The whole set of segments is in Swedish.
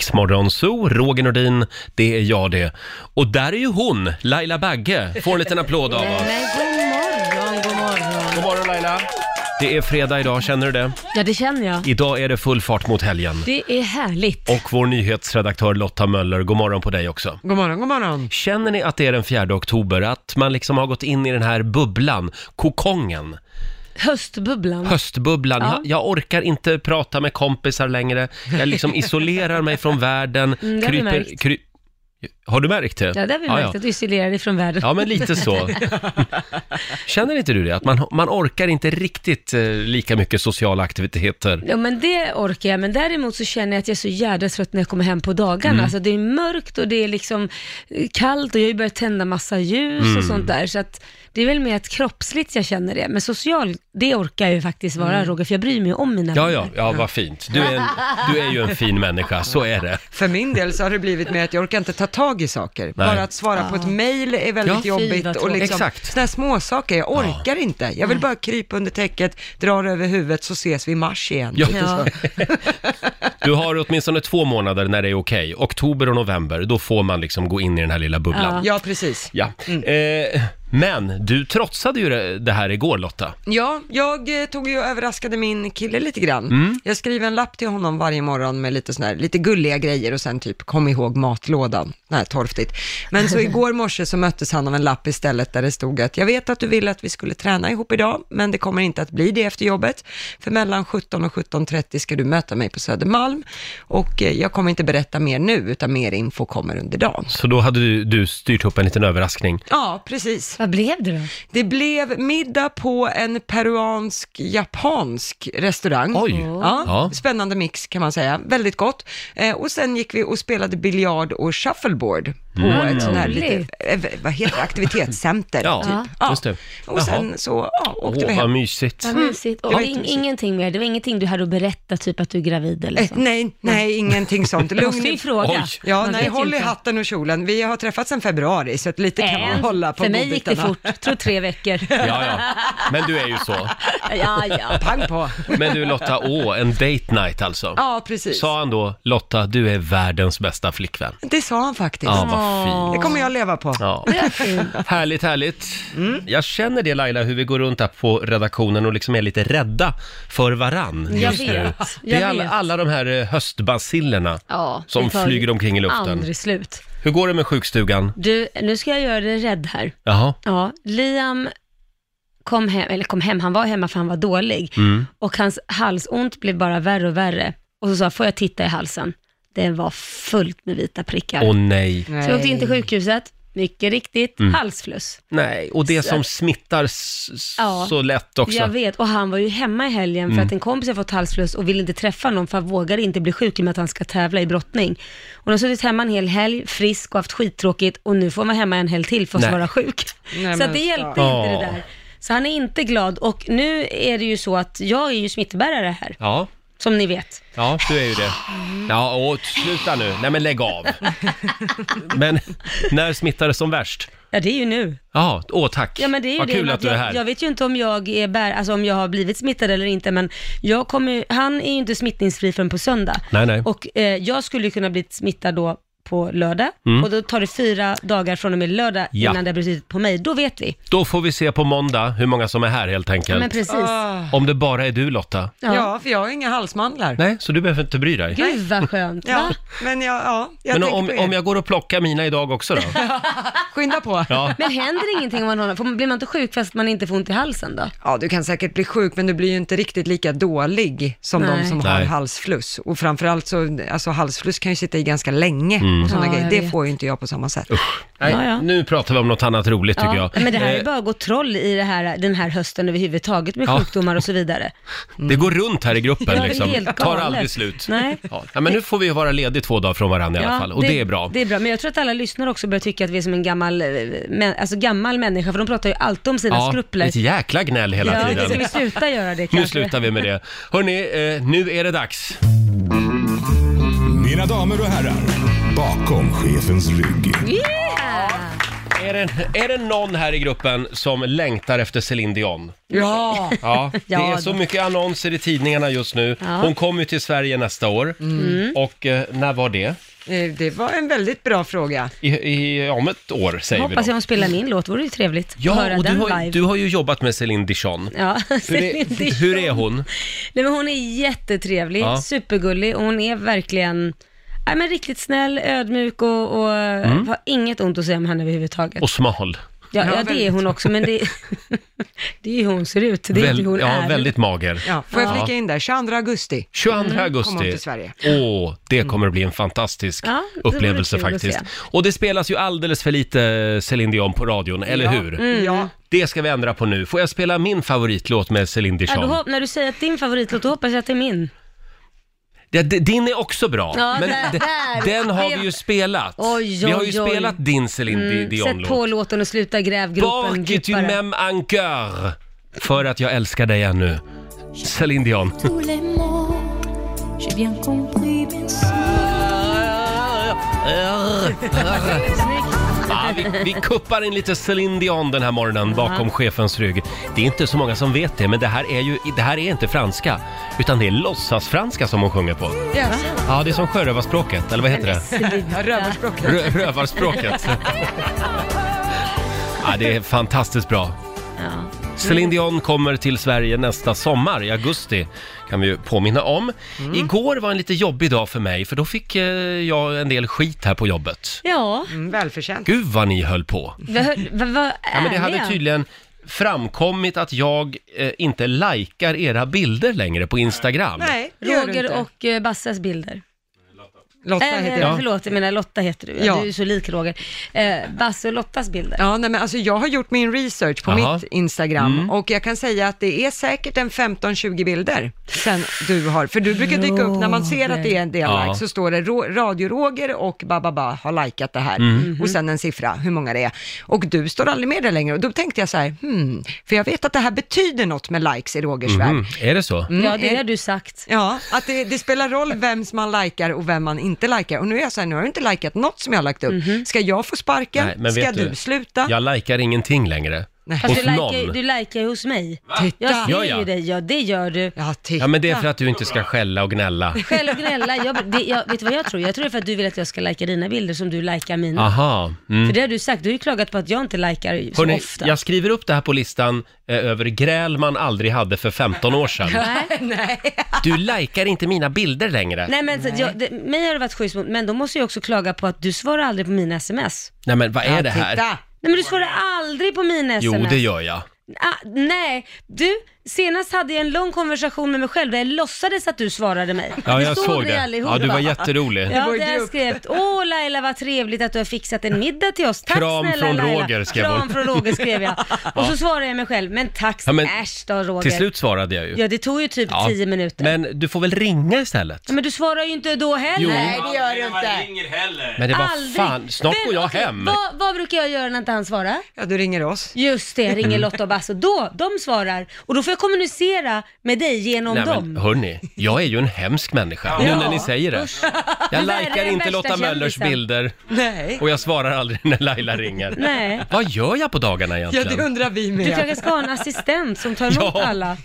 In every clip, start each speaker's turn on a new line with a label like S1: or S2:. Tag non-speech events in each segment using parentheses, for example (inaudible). S1: Riksmorgon Zoo, Roger Nordin, det är jag det. Och där är ju hon, Laila Bagge, får en liten applåd av oss.
S2: Nej, god morgon, god morgon.
S1: God morgon Laila! Det är fredag idag, känner du det?
S2: Ja, det känner jag.
S1: Idag är det full fart mot helgen.
S2: Det är härligt.
S1: Och vår nyhetsredaktör Lotta Möller, god morgon på dig också.
S3: God morgon, god morgon.
S1: Känner ni att det är den 4 oktober, att man liksom har gått in i den här bubblan, kokongen?
S2: Höstbubblan.
S1: Höstbubblan,
S2: Ja.
S1: jag, jag orkar inte prata med kompisar längre, jag liksom
S2: (laughs)
S1: isolerar mig från världen,
S2: Mm, det har vi märkt.
S1: kry... Har du märkt det?
S2: Ja, det har vi
S1: Ja, ja.
S2: märkt att du isolerar dig från världen.
S1: Ja, men lite så. Känner inte du det? Att man, man orkar inte riktigt eh, lika mycket sociala aktiviteter.
S2: Ja, men det orkar jag, men däremot så känner jag att jag är så jädra trött när jag kommer hem på dagarna. Alltså, det är mörkt och det är liksom eh, kallt och jag har ju börjat tända massa ljus och sånt där. Så att det är väl mer att kroppsligt jag känner det, men social, det orkar jag ju faktiskt vara Roger, för jag bryr mig ju om mina
S1: Ja,
S2: vänner.
S1: ja, ja, vad fint. Du är, en, du är ju en fin människa, så är det.
S3: För min del så har det blivit med att jag orkar inte ta tag i saker. Bara att svara på ett mejl är väldigt
S1: Ja.
S2: Fy, vad
S3: jobbigt och
S2: tråkigt.
S3: liksom,
S1: Exakt.
S3: sådana här småsaker, jag orkar inte. Jag vill bara krypa under täcket, dra det över huvudet så ses vi i mars igen.
S1: Ja.
S3: Lite så.
S1: Du har åtminstone två månader när det är okej. Oktober och november, då får man liksom gå in i den här lilla bubblan.
S3: ja Mm. precis.
S1: Ja. Eh, men du trotsade ju det- det här igår Lotta.
S3: Ja, jag eh, tog ju och överraskade min kille lite grann. Jag skriver en lapp till honom varje morgon med lite sån här, lite gulliga grejer och sen typ kom ihåg matlådan. Nej, torftigt. Men så igår morse så möttes han av en lapp istället där det stod att jag vet att du ville att vi skulle träna ihop idag, men det kommer inte att bli det efter jobbet. För mellan 17 och 17.30 ska du möta mig på Södermalm och eh, jag kommer inte berätta mer nu, utan mer info kommer under dagen.
S1: Så då hade du, du styrt upp en liten överraskning.
S3: Ja, precis.
S2: Vad blev det då?
S3: Det blev middag på en peruansk-japansk restaurang.
S1: Oj.
S3: Ja,
S1: Ja.
S3: Spännande mix kan man säga, väldigt gott. Eh, och sen gick vi och spelade biljard och shuffleboard på ett sånt här lite,
S2: Roligt.
S3: eh, vad heter det, aktivitetscenter.
S1: Mm. Ja,
S3: typ.
S1: just det.
S3: Och sen så ja, åkte vi
S1: Åh, vad
S3: hem. Mm.
S1: mysigt.
S2: Vad mysigt. Och
S3: var
S2: in,
S3: jättemysigt.
S2: ingenting mer, det var ingenting du hade att berätta, typ att du är gravid eller
S3: Eh,
S2: så?
S3: nej, nej, ingenting sånt.
S2: Du
S3: Lugn
S2: måste ju
S3: i
S2: fråga.
S1: Oj.
S3: Ja,
S2: Man
S3: nej,
S2: vet
S3: håll
S2: ju
S3: i
S2: inte.
S3: hatten och kjolen. Vi har träffats sedan februari, så att lite kan man
S2: Äh,
S3: hålla på
S2: För mig gick det
S3: godbitarna.
S2: fort, jag tror tre
S3: (laughs)
S2: veckor.
S1: Ja, ja. Men du är ju så.
S2: ja, ja.
S3: Pang på.
S1: Men du Lotta, åh, en date night alltså.
S3: Ja, precis.
S1: Sa han då, Lotta, du är världens bästa flickvän?
S3: Det sa han faktiskt.
S1: Ja, vad
S2: Åh.
S1: fint.
S3: Det kommer jag leva på.
S1: Ja.
S2: Det är fint.
S1: Härligt, härligt. Jag känner det Laila, hur vi går runt här på redaktionen och liksom är lite rädda för varann
S2: Jag
S1: just
S2: vet,
S1: nu.
S2: jag
S1: Det är alla,
S2: vet.
S1: alla de här eh, höstbasillerna
S2: Ja,
S1: som
S2: det tar
S1: flyger omkring i luften.
S2: Aldrig slut.
S1: Hur går det med sjukstugan?
S2: Du, nu ska jag göra dig rädd här.
S1: Jaha,
S2: Ja, Liam kom hem, eller kom hem, han var hemma för han var dålig.
S3: Mm.
S1: Mm.
S2: Och hans halsont blev bara värre och värre. Och så sa jag, får jag titta i halsen? Den var fullt med vita prickar.
S1: åh nej. Mm.
S2: så jag åkte in till sjukhuset, mycket riktigt, halsfluss.
S1: Nej, och det
S2: Så-
S1: som smittar s-
S2: Ja.
S1: så lätt också. Mm.
S2: Jag vet, och han var ju hemma i helgen för att en kompis har fått halsfluss och vill inte träffa någon för han vågar inte bli sjuk i och med att han ska tävla i brottning. Och han har suttit hemma en hel helg, frisk och haft skittråkigt och nu får han vara hemma en helg till för att
S1: Nej.
S2: vara sjuk. (laughs)
S3: men
S2: så att det
S3: fan.
S2: hjälpte inte det där. Så han är inte glad och nu är det ju så att jag är ju smittbärare här,
S1: Ja,
S2: som ni vet.
S1: ja, du är ju det. Ja, och sluta nu. Nej men lägg av. Men när smittar det som värst?
S2: Ja, det är ju nu.
S1: Ja, åh tack.
S2: Ja, men det är ju
S1: Vad
S2: det,
S1: kul
S2: men
S1: att du är här.
S2: Jag, jag vet ju inte om jag, är bär, alltså om jag har blivit smittad eller inte, men jag kommer, ju- han är ju inte smittningsfri förrän på söndag.
S1: Nej, nej.
S2: Och eh, jag skulle ju kunna bli smittad då på lördag och då tar det fyra dagar från och med lördag
S1: Mm. Ja.
S2: innan det har brutit ut på mig. Då vet vi.
S1: Då får vi se på måndag hur många som är här helt
S2: Ja, men
S1: enkelt.
S2: precis.
S3: Ah.
S1: Om det bara är du Lotta.
S2: Ja.
S3: Ja, för jag har inga halsmandlar.
S1: Nej, så du behöver inte bry dig.
S2: Gud vad skönt.
S3: Ja,
S2: Va?
S3: men jag, ja, jag
S1: Men
S3: tänker
S1: om,
S3: på er.
S1: om jag går och plockar mina idag också
S2: (laughs)
S1: då?
S3: Skynda på. Ja. (laughs)
S1: Ja.
S2: Men händer ingenting om man har, får man- blir man inte sjuk fast man inte får ont i halsen då?
S3: du kan säkert bli sjuk, men du blir ju inte riktigt lika dålig som
S2: Nej.
S3: de som har
S1: Nej.
S3: halsfluss. Och framförallt så, alltså halsfluss kan ju sitta i ganska länge
S1: Mm.
S3: och sådana
S2: Ja,
S3: grejer.
S2: jag
S3: Det
S2: vet.
S3: får ju inte jag på samma sätt.
S1: Nej,
S2: Ja, ja.
S1: Nu pratar vi om något annat roligt tycker
S2: Ja.
S1: jag.
S2: Men det här
S1: Eh,
S2: är bara att gå troll i det här, den här hösten överhuvudtaget med
S1: Ja.
S2: sjukdomar och så vidare.
S1: Det går runt här i
S2: Ja,
S1: gruppen
S2: det är
S1: liksom.
S2: helt
S1: Tar
S2: galet.
S1: aldrig slut.
S2: Nej.
S1: Ja, Ja, men nu får vi vara lediga två dagar från varandra i alla
S2: Ja,
S1: fall och det, är bra.
S2: Det är bra, men jag tror att alla lyssnare också börjar tycka att vi är som en gammal, eh, mä- alltså gammal människa, för de pratar ju alltid om sina
S1: Ja,
S2: skrupler.
S1: ett jäkla gnäll hela
S2: Ja, ska
S1: tiden.
S2: vi sluta göra det kanske?
S1: Nu slutar vi med det. Hörni, eh, nu är det dags.
S4: Mina damer och herrar, bakom chefens rygg.
S2: Yeah!
S1: är det, är det någon här i gruppen som längtar efter Céline Dion?
S3: Ja.
S2: (laughs)
S1: Ja, det
S2: Ja,
S1: är så
S2: då.
S1: mycket annonser i tidningarna just nu.
S2: Ja. Mm.
S1: Hon kommer ju till Sverige nästa år. Och eh, när var det?
S3: Eh, Det var en väldigt bra fråga.
S1: I, i, om ett år säger vi
S2: Hoppas
S1: då.
S2: jag hon spelar min låt, vore ju trevligt att
S1: Ja,
S2: höra
S1: och du
S2: den
S1: har, ju-
S2: live.
S1: du har ju jobbat med Céline Dion.
S2: Ja, (laughs)
S1: Hur
S2: Celine Dion.
S1: är, hur är hon?
S2: Nej, men hon är jättetrevlig,
S1: Ja.
S2: supergullig och hon är verkligen Nej, men riktigt snäll, ödmjuk och, och har inget ont att säga om henne överhuvudtaget.
S1: Mm. Och smal.
S2: ja,
S3: Ja,
S2: ja, det är
S3: väldigt.
S2: hon också, men det, (laughs) det är ju hur hon ser ut, det är
S1: Väl-
S2: inte hur hon
S1: ja,
S2: är.
S1: väldigt mager.
S3: Ja, får jag flika in där? 22
S2: Mm,
S3: augusti.
S1: 22 augusti.
S3: Kommer hon till Sverige.
S1: Åh, det kommer att bli en fantastisk
S2: Ja, det vore
S1: upplevelse
S2: kul att
S1: faktiskt.
S2: se.
S1: Och det spelas ju alldeles för lite Céline Dion på radion, eller hur?
S2: Mm.
S3: Ja.
S1: Det ska vi ändra på nu. Får jag spela min favoritlåt med Céline
S2: Ja, då,
S1: Dion?
S2: hop- när du säger att din favoritlåt, då hoppas jag att det är min.
S1: Ja, d- din är också bra,
S2: Ja,
S1: men
S2: där-
S1: d-
S2: där.
S1: den har
S2: Det-
S1: vi ju spelat.
S2: Oj,
S1: vi har ju
S2: oj, oj.
S1: spelat din Céline Di-
S2: Mm, sätt på
S1: Dion-låt.
S2: låten och sluta gräv gropen
S1: Bak tu
S2: djupare.
S1: même en cœur, för att jag älskar dig ännu. Céline Dion.
S4: tous les mots. J'ai bien compris, merci.
S1: Ja, vi, vi kuppar in lite Céline Dion den här morgonen bakom chefens rygg. Det är inte så många som vet det, men det här är ju det här är inte franska, utan det är låtsasfranska som hon sjunger på. Ja, det är som sjörövarspråket, eller vad heter det?
S3: Ja, Rövarspråk.
S1: Rö- (laughs) rövarspråket. Ja, det är fantastiskt bra.
S2: Ja.
S1: Céline Dion kommer till Sverige nästa sommar, i augusti, kan vi ju påminna om. Igår var en lite jobbig dag för mig, för då fick eh, jag en del skit här på jobbet.
S2: Ja,
S3: Mm, välförtjänt.
S1: Gud vad ni höll på!
S2: vad va, va,
S1: Ja, men det hade tydligen framkommit att jag eh, inte likar era bilder längre på Instagram.
S3: Nej, det gör du inte.
S2: Roger och eh, Bassas bilder.
S3: Lotta
S2: Äh,
S3: heter
S2: ja.
S3: jag.
S2: Förlåt, jag menar Lotta heter du. Ja.
S3: Ja.
S2: Du är ju så lik Roger. Eh, Basse och Lottas bilder.
S3: Ja, nej, men alltså jag har gjort min research på
S1: Jaha. Mm.
S3: mitt Instagram och jag kan säga att det är säkert en 15-20 bilder sen du har, för du brukar dyka upp när man ser att det är en del
S1: Ja.
S3: likes så står det Ro- Radio Roger och Bababa har likat det här
S1: Mm.
S3: och sen en siffra, hur många det är. Och du står aldrig med där längre och då tänkte jag så här, hmm, för jag vet att det här betyder något med likes i Rogers värld.
S1: Mm, eh, är det så?
S2: ja, det har du sagt.
S3: Ja, att det, det spelar roll vem som man likar och vem man inte likar. Och nu är jag så här, nu har du inte likat något som jag har lagt upp. Ska jag få sparken?
S1: Mhm. Nej, men
S3: Ska
S1: vet
S3: du,
S1: du,
S3: sluta?
S1: Jag likar ingenting längre.
S3: Nej.
S2: Fast
S1: Hos
S2: du likar,
S1: någon.
S2: du likar ju hos mig.
S3: Titta.
S2: Jag ser
S1: Gör
S2: ju
S1: jag?
S2: dig, ja det gör du.
S3: Ja, titta.
S1: Ja, men det är för att du inte ska skälla och gnälla.
S2: Själv och gnälla, jag, det, jag, vet du vad jag tror? Jag tror det är för att du vill att jag ska lika dina bilder som du likar mina.
S1: Aha. Mm.
S2: För det har du sagt, du har ju klagat på att jag inte likar så
S1: Hörrni,
S2: ofta.
S1: jag skriver upp det här på listan eh, över gräl man aldrig hade för 15 år
S2: (laughs)
S1: sedan.
S3: Nej.
S1: Du likar inte mina bilder längre. Nej,
S2: Nej men så att jag, det, mig har det varit schysst mot, men då måste jag också klaga på att du svarar aldrig på mina sms.
S1: men vad är det här?
S3: Titta.
S2: Nej men du svarar aldrig på mina sms.
S1: Jo, det gör jag.
S2: Ah, nej, du, senast hade jag en lång konversation med mig själv där jag låtsades att du svarade mig.
S1: Ja,
S2: Vi
S1: jag såg
S2: vi
S1: det.
S2: allihopa.
S1: Ja, du var jätterolig.
S2: Ja,
S3: vår
S2: där jag
S3: grupp.
S2: skrev åh Laila vad trevligt att du har fixat en middag till oss. Tack
S1: Kram
S2: snälla
S1: från
S2: Laila.
S1: Roger, skrev hon.
S2: Kram från Roger
S1: (laughs)
S2: skrev jag. Och så svarade jag mig själv, men tack
S1: Ja, men
S2: äsch då Roger.
S1: Till slut svarade jag ju.
S2: Ja, det tog ju typ
S1: Ja.
S2: 10 minuter. Men...
S1: Men du får väl ringa istället?
S2: men du svarar ju inte då heller.
S1: Jo.
S2: Nej,
S3: det gör du inte.
S1: Men det var
S2: aldrig.
S1: fan, snart
S2: Men,
S1: går jag
S2: okej,
S1: hem.
S2: Vad, vad brukar jag göra när inte han svarar?
S3: Ja, du ringer oss.
S2: Just det, jag
S1: Mm.
S2: ringer Lotta och Basse. Då, de svarar. Och då får jag kommunicera med dig genom
S1: Nej
S2: dem.
S1: men hörni, jag är ju en hemsk människa, nu när ni säger det.
S2: (laughs)
S1: Jag
S2: Du är
S1: likar
S2: den
S1: inte
S2: värsta
S1: Lotta Möllers
S2: kändisen.
S1: bilder
S3: Nej.
S1: och jag svarar aldrig när Laila ringer.
S2: Nej.
S1: Vad gör jag på dagarna
S3: Ja, det
S1: egentligen?
S3: undrar vi
S2: Du
S3: med.
S2: kanske ska ha en assistent som tar emot
S1: (laughs) Ja.
S2: alla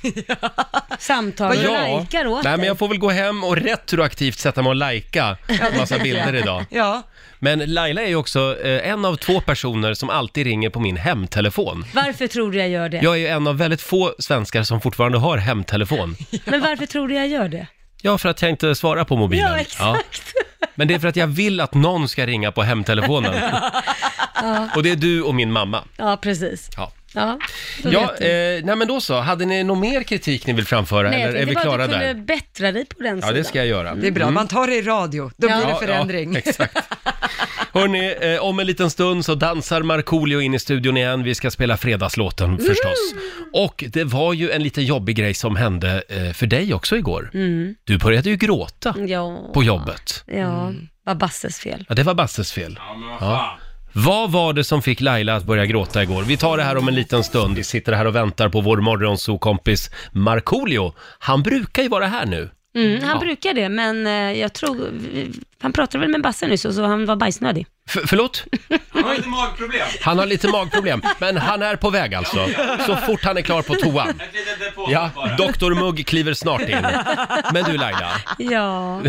S2: samtal och likar åt
S1: Nej men
S2: dig.
S1: jag får väl gå hem och retroaktivt sätta mig och lajka en massa bilder idag.
S3: Ja,
S1: Men Laila är ju också eh, en av två personer som alltid ringer på min hemtelefon.
S2: Varför tror du jag gör det?
S1: Jag är ju en av väldigt få svenskar som fortfarande har hemtelefon.
S2: Men varför tror du jag gör det?
S1: Ja, för att jag inte svarar på mobilen.
S2: Ja, exakt. (laughs)
S1: Men det är för att jag vill att någon ska ringa på
S2: (laughs)
S1: hemtelefonen. Och det är du och min mamma.
S2: Ja, precis.
S1: Ja.
S2: Ja, då
S1: Ja,
S2: vet du.
S1: eh, nej men då så. Hade ni någon mer kritik ni vill framföra
S2: Nej, jag
S1: eller är vi
S2: tänkte bara
S1: klara
S2: att du kunde
S1: där?
S2: bättra dig på den
S1: Ja, det ska jag göra.
S3: det är bra. Man tar det i radio, då blir
S1: Mm. Ja,
S3: det förändring.
S1: Ja, exakt. Hörrni, eh, om en liten stund så dansar Markoolio in i studion igen. Vi ska spela fredagslåten förstås. Och det var ju en lite jobbig grej som hände eh, för dig också igår. Du började ju gråta
S2: Ja,
S1: på jobbet.
S2: ja var Basses fel.
S1: Ja, det var Basses fel. Ja. Vad var det som fick Laila att börja gråta igår? Vi tar det här om en liten stund. Vi sitter här och väntar på vår morgonsokompis Markoolio. Han brukar ju vara här nu.
S2: Mm, han brukar det, men eh, jag tror... Han pratade väl med Basse nyss och så han var bajsnödig.
S1: F- förlåt?
S5: Han har lite magproblem.
S1: Han har lite magproblem, men han är på väg alltså. Så fort han är klar på toan.
S5: Ett litet depå
S1: Ja,
S5: bara.
S1: Dr Mugg kliver snart in. Men du Laila,
S2: Ja.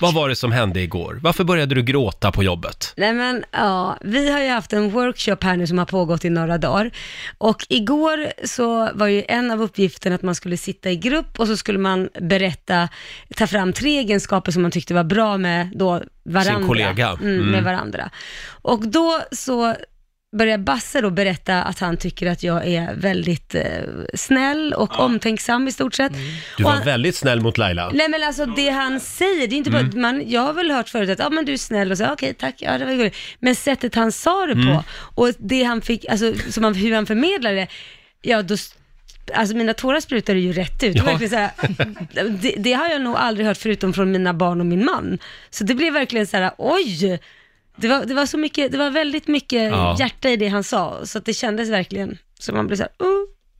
S1: vad var det som hände igår? Varför började du gråta på jobbet?
S2: Nej men ja, vi har ju haft en workshop här nu som har pågått i några dagar. Och igår så var ju en av uppgifterna att man skulle sitta i grupp och så skulle man berätta, ta fram tre egenskaper som man tyckte var bra med då varandra.
S1: kollega.
S2: Mm,
S1: Mm.
S2: Med varandra. Och då så börjar Basse då berätta att han tycker att jag är väldigt eh, snäll och omtänksam i stort sett.
S1: Du
S2: Och
S1: var
S2: han-
S1: väldigt snäll mot Laila.
S2: Nej men alltså det han säger, det är inte bara,
S1: Mm.
S2: man, jag har väl hört förut att, ja ah, men du är snäll och så, "Ah, okej tack, ja det var gulligt. Men sättet han sa det
S1: Mm.
S2: på och det han fick, alltså som han, hur han förmedlade det, ja då, s- alltså mina tårar sprutade ju rätt ut.
S1: Ja.
S2: Det, var verkligen så här, (laughs) det, det har jag nog aldrig hört förutom från mina barn och min man. Så det blev verkligen så här, oj! Det var, det var så mycket, det var väldigt mycket
S1: Ja.
S2: hjärta i det han sa, så att det kändes verkligen som man blev så här, uh.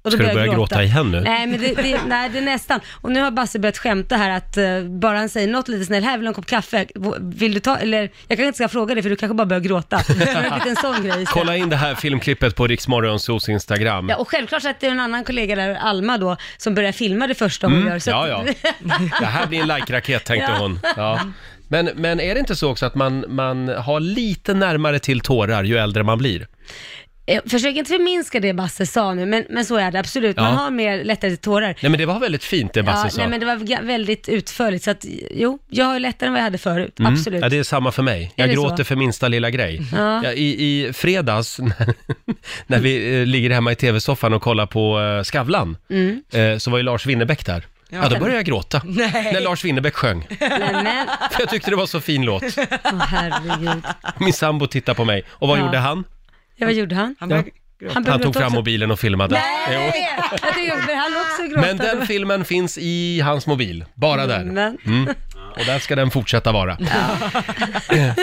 S2: Och då
S1: Ska du
S2: började jag
S1: börja gråta igen nu?
S2: Nej, men det, det, nej, det är nästan. Och nu har Basse börjat skämta här att eh, bara han säger något lite snällt, här vill du ha en kopp kaffe, V- vill du ta, eller jag kanske inte ska fråga dig för du kanske bara
S1: (laughs)
S2: börjar gråta. Så det har blivit en sån grej.
S1: Kolla in det här filmklippet på Riksmorgonsos Instagram.
S2: Ja, och självklart så att det är en annan kollega där, Alma då, som börjar filma det första hon gör. Så
S1: Mm. Ja,
S2: att-
S1: ja. Det här blir en like-raket tänkte
S2: Ja.
S1: hon. Ja. Men, men är det inte så också att man, man har lite närmare till tårar ju äldre man blir?
S2: (laughs) Eh, Försök inte förminska det Basse sa nu, men, men så är det absolut. Man
S1: Ja.
S2: har mer lättare till tårar.
S1: Nej men det var väldigt fint det Basse
S2: Ja,
S1: sa.
S2: nej, men det var ga- väldigt utförligt, så att jo, jag har lättare än vad jag hade förut, absolut.
S1: Mm. Ja, det är samma för mig. Jag
S2: det
S1: gråter
S2: så?
S1: för minsta lilla grej.
S2: Ja.
S1: Ja, i, I fredags, (laughs) när, när vi eh, ligger hemma i tv-soffan och kollar på eh, Skavlan,
S2: Mm.
S1: eh, så var ju Lars Winnerbäck där. Ja. då började jag gråta.
S3: Nej.
S1: När Lars Winnerbäck sjöng.
S2: Nej, men,
S1: För jag tyckte det var så fin låt.
S2: åh, herregud.
S1: Min sambo tittade på mig. Och vad
S2: Ja.
S1: gjorde han?
S2: Ja, vad gjorde han?
S3: Han börjar
S2: Han,
S1: Han
S2: började
S1: tog
S2: gråta
S1: fram
S2: också.
S1: mobilen och filmade. Jo.
S2: Nej! Jag tycker också, han också gråta.
S1: Men den filmen finns i hans mobil, bara där.
S2: Men,
S1: Och där ska den fortsätta vara. (laughs)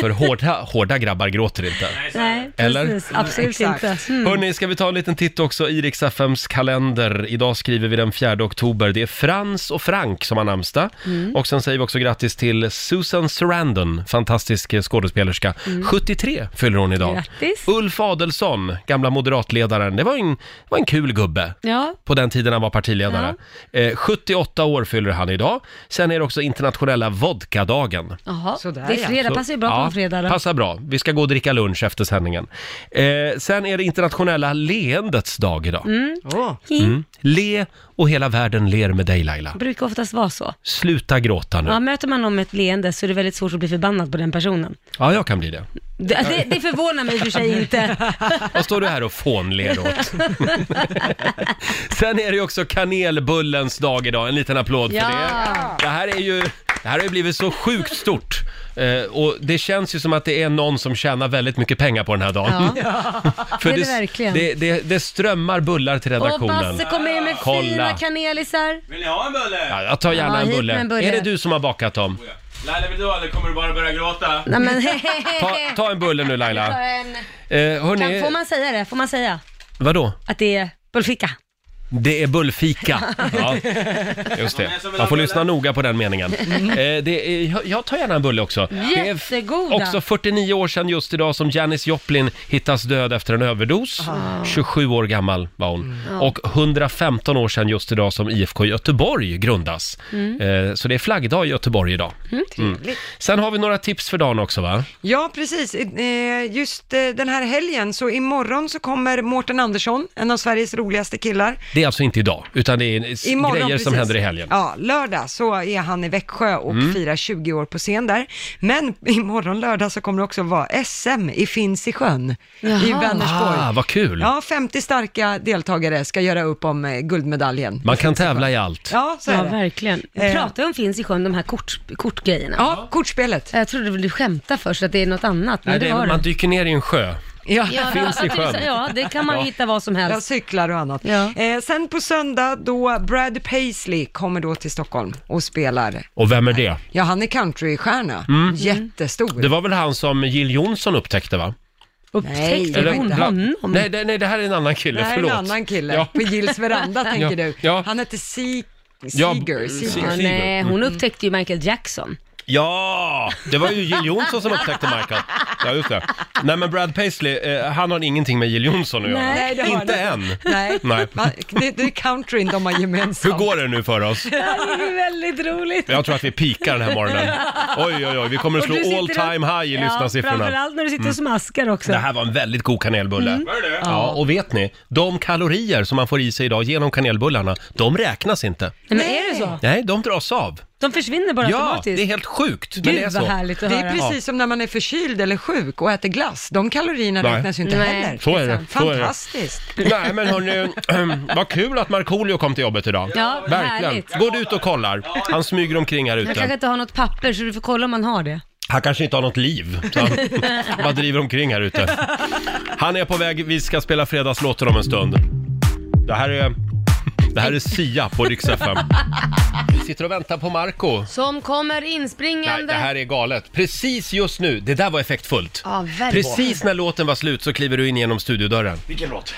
S1: För hårda, hårda grabbar gråter inte.
S2: nej,
S1: Eller?
S2: precis. Absolut
S3: Exakt.
S2: inte. Mm.
S1: Hörni, ska vi ta en liten titt också i Rix FMs kalender. Idag skriver vi den 4 oktober. Det är Frans och Frank som har namnsdag.
S2: Mm.
S1: Och sen säger vi också grattis till Susan Sarandon, fantastisk eh, skådespelerska. 73 fyller hon idag.
S2: Mm. Grattis.
S1: Ulf Adelsohn, gamla moderatledaren. Det var en, det var en kul gubbe.
S2: Ja,
S1: På den tiden han var partiledare. Eh, 78 år fyller han idag. Sen är det också internationella vodkadagen.
S2: jaha.
S3: Sådär,
S2: det är
S3: ja.
S2: fredag,
S1: Så-
S2: passar ju bra på en fredag då.
S1: Passar bra. Vi ska gå och dricka lunch efter sändningen. Eh, sen är det internationella leendets dag idag.
S3: Åh,
S1: Mm. Le och hela världen ler med dig Laila.
S2: Det brukar oftast vara så.
S1: Sluta gråta nu.
S2: Ja, möter man någon med ett leende så är det väldigt svårt att bli förbannad på den personen.
S1: Ja, jag kan bli det.
S2: Det, det, det förvånar mig i och för
S1: (laughs)
S2: sig inte.
S1: Vad står du här och fånler
S2: (laughs)
S1: åt? sen är det ju också kanelbullens dag idag. En liten applåd för
S2: Ja.
S1: det. Det här är ju... Det här har ju blivit så sjukt stort. Eh, och det känns ju som att det är någon som tjänar väldigt mycket pengar på den här dagen.
S2: Ja.
S1: (laughs) För
S2: det är det verkligen.
S1: Det, det, det strömmar bullar till
S2: Och
S1: redaktionen.
S2: Basse kommer in med
S1: Kolla.
S2: fina kanelisar.
S5: Vill ni ha en bulle?
S1: Ja, jag tar gärna
S2: Ja,
S1: en,
S2: hit med
S1: bulle.
S2: en bulle.
S1: Är det du som har bakat dem?
S5: Laila, vill du ha eller kommer du bara börja gråta?
S2: Nej, men,
S1: Ta,
S2: (laughs)
S1: ta en bulle nu Laila.
S2: Ta en.
S1: Eh, hörni,
S2: Kan, får man säga det? Får man säga
S1: vadå?
S2: att det är bullficka?
S1: Det är
S3: (laughs)
S1: bullfika. Ja, just det. Man får lyssna noga på den meningen.
S3: Mm.
S1: Eh, det är, jag- jag tar gärna en bulle också. Det är f-
S2: Jättegoda.
S1: också 49 år sedan just idag som Janis Joplin hittas död efter en överdos.
S3: Ah.
S1: 27 år gammal var
S3: Mm.
S1: hon. Och 115 år sedan just idag som IFK Göteborg grundas.
S3: Mm.
S1: Eh, så det är flaggdag i Göteborg idag. Mm. Sen har vi några tips för dagen också va?
S3: Ja, precis. Eh, Just eh, den här helgen, så imorgon så kommer Mårten Andersson, en av Sveriges roligaste killar.
S1: Det är alltså inte idag, utan det är s-
S3: Imorgon,
S1: grejer som
S3: precis.
S1: händer i helgen. Mm.
S3: Ja, lördag så är han i Växjö och firar 20 år på scen där. Men (laughs) imorgon lördag så kommer det också vara SM i Finns i sjön i
S2: Jaha.
S3: Vänersborg.
S1: Ah, vad kul!
S3: Ja, 50 starka deltagare ska göra upp om eh, guldmedaljen.
S1: Man kan tävla i allt.
S3: Ja, så är
S2: Ja,
S3: det.
S2: verkligen. Vi
S3: Eh.
S2: pratar ju om finns i sjön, de här kort, kortgrejerna.
S3: Ja, kortspelet.
S2: Jag trodde väl du skämtade först att det är något annat, men
S1: Nej,
S2: det
S1: det,
S2: var
S1: man
S2: det.
S1: dyker ner i en sjö.
S3: Ja.
S2: Ja,
S1: finns i sjön.
S2: Ja, det kan man
S1: Ja.
S2: hitta vad som
S3: Ja,
S2: helst.
S3: cyklar och annat.
S2: Ja.
S3: Eh, sen på söndag då Brad Paisley kommer då till Stockholm och spelar.
S1: Och vem är det?
S3: Ja, han är countrystjärna. Jättestor.
S1: Mm. Det var väl han som Jill Johnson upptäckte va?
S3: Nej,
S2: Upptäckte
S3: det var
S2: hon
S3: inte
S1: bland-
S2: honom?
S1: Nej, det, nej, det här är en annan kille,
S3: det här är en
S1: förlåt.
S3: annan kille
S1: Ja.
S3: på Gills veranda tänker
S1: (laughs) Ja,
S3: du.
S1: ja.
S3: Han heter Se-
S1: Ja,
S3: Seeger.
S1: Se-
S3: Seeger.
S2: Ja, nej, hon upptäckte ju Michael Jackson.
S1: ja, det var ju Jill Johnson som upptäckte Michael. Ja, just det. Nej, men Brad Paisley, eh, han har ingenting med Jill Johnson att göra.
S3: Nej, det har
S1: Inte
S3: det.
S1: än. (laughs)
S3: Nej,
S1: Nej.
S3: Man, det, det är countryn de har
S1: Hur
S3: gemensamt.
S1: går det nu för oss?
S2: Det här är ju väldigt roligt.
S1: Jag tror att vi pikar den här morgonen. Oj, oj, oj, vi kommer att
S2: Och du
S1: slå
S2: sitter
S1: all
S2: och-
S1: time high i
S2: Ja,
S1: lyssnarsiffrorna. Mm.
S2: Framförallt när du sitter och smaskar också.
S1: Det här var en väldigt god kanelbulle.
S5: Var det det?
S1: Ja, och vet ni? De kalorier som man får i sig idag genom kanelbullarna, de räknas inte.
S2: Nej, men är det så?
S1: Nej, de dras av.
S2: De försvinner bara
S1: Ja, det
S2: automatiskt?
S1: är helt sjukt. men det är
S2: Gud
S1: så.
S2: vad härligt att
S3: Det
S2: höra.
S3: är precis som när man är förkyld eller sjuk och äter glass. De kalorierna
S1: Nej.
S3: räknas ju inte
S2: Nej.
S3: heller.
S1: Så är det. Så är det.
S3: Fantastiskt.
S1: Nej, men hörni, (clears throat) vad kul att Markoolio kom till jobbet idag.
S2: Ja,
S1: Verkligen.
S2: härligt.
S1: Gå ut och kollar. Han smyger omkring här
S2: Han kanske
S1: ute.
S2: inte har något papper så du får kolla om han har det.
S1: Han kanske inte har något liv, så han (laughs) bara driver omkring här ute. Han är på väg, vi ska spela fredagslåten om en stund. Det här är, det här är Sia på Rix FM. Vi sitter och väntar på Marco.
S2: Som kommer
S1: Nej,
S2: inspringande.
S1: det här är galet. Precis just nu, det där var effektfullt.
S2: Ja, verkligen.
S1: Precis när låten var slut så kliver du in genom studiodörren.
S5: Vilken låt?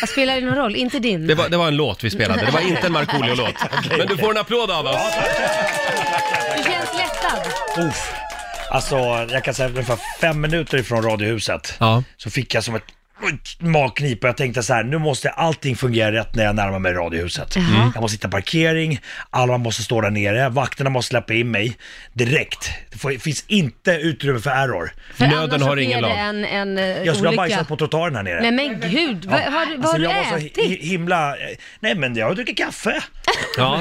S2: Vad spelar det någon roll? Inte din.
S1: Det var, det var en låt vi spelade, det var inte en Markoolio-låt. Men du får en applåd av oss.
S2: Du känns lättad.
S6: Uff. Alltså, jag kan säga ungefär fem minuter ifrån Radiohuset
S1: Ja.
S6: så fick jag som ett ett magknip och jag tänkte så här, nu måste allting fungera rätt när jag närmar mig Radiohuset. Mm. Jag måste hitta parkering, alla måste stå där nere, vakterna måste släppa in mig direkt. Det får- finns inte utrymme för error.
S2: För
S1: Nöden
S2: annars så
S1: har ingen
S2: sker det
S1: lag.
S2: en, en eh,
S6: Jag skulle ha
S2: olycka.
S6: bajsat på trottoaren här
S2: Nej
S6: nere.
S2: men gud, vad har, du- vad
S6: Alltså,
S2: har du
S6: jag var så
S2: ätit?
S6: hi- himla... eh, Nej men jag dricker kaffe.
S1: Ja.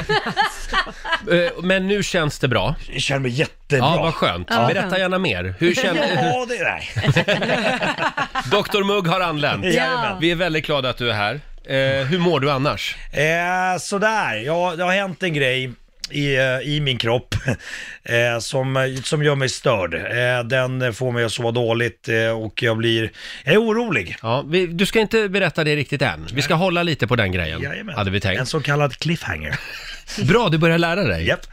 S1: Eh, Men nu känns det bra.
S6: Jag känner mig jättebra.
S1: Ja, vad skönt.
S2: Ja.
S1: Berätta gärna mer. Hur
S6: (laughs)
S1: känner...
S6: Ja, det är nej.
S2: (laughs)
S1: Dr Mugg har anlänt.
S6: Jajamän.
S1: Vi är väldigt glada att du är här. Eh, hur mår du annars?
S6: Eh, sådär, ja, det har hänt en grej i, eh, i min kropp (laughs) eh, som, som gör mig störd. Eh, den får mig att sova dåligt eh, och jag blir, jag är orolig.
S1: Ja, vi, du ska inte berätta det riktigt än. Vi ska hålla lite på den grejen,
S6: Jajamän.
S1: hade vi
S6: En
S1: tänkt.
S6: så kallad cliffhanger.
S1: Bra, du börjar lära dig.
S6: Japp.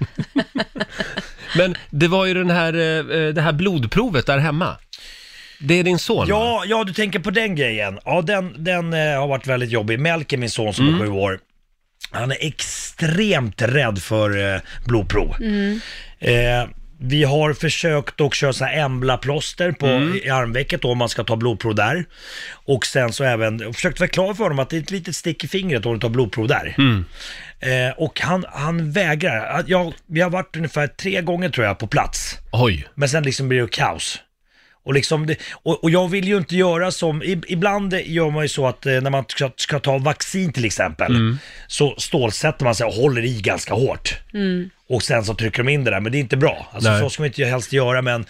S1: Men det var ju den här, eh, det här blodprovet där hemma. Det är din son? va?
S6: Ja, ja, du tänker på den grejen. Ja, den, den eh, har varit väldigt jobbig. Melker, min son som är sju år, han är extremt rädd för eh, blodprov. Eh, vi har försökt att köra sådana här Embla-plåster på, i armvecket då, om man ska ta blodprov där. Och sen så även och försökt förklara för honom att det är ett litet stick i fingret om du tar blodprov där. Eh, och han, han vägrar. Jag, vi har varit ungefär tre gånger tror jag på plats.
S1: Oj.
S6: Men sen liksom blir det kaos. Och, liksom det, och, och jag vill ju inte göra som, i- ibland gör man ju så att eh, när man ska, ska ta vaccin till exempel, så stålsätter man sig och håller i ganska hårt. Och sen så trycker de in det där, men det är inte bra. Alltså,
S1: Nej.
S6: så ska man inte helst göra, men,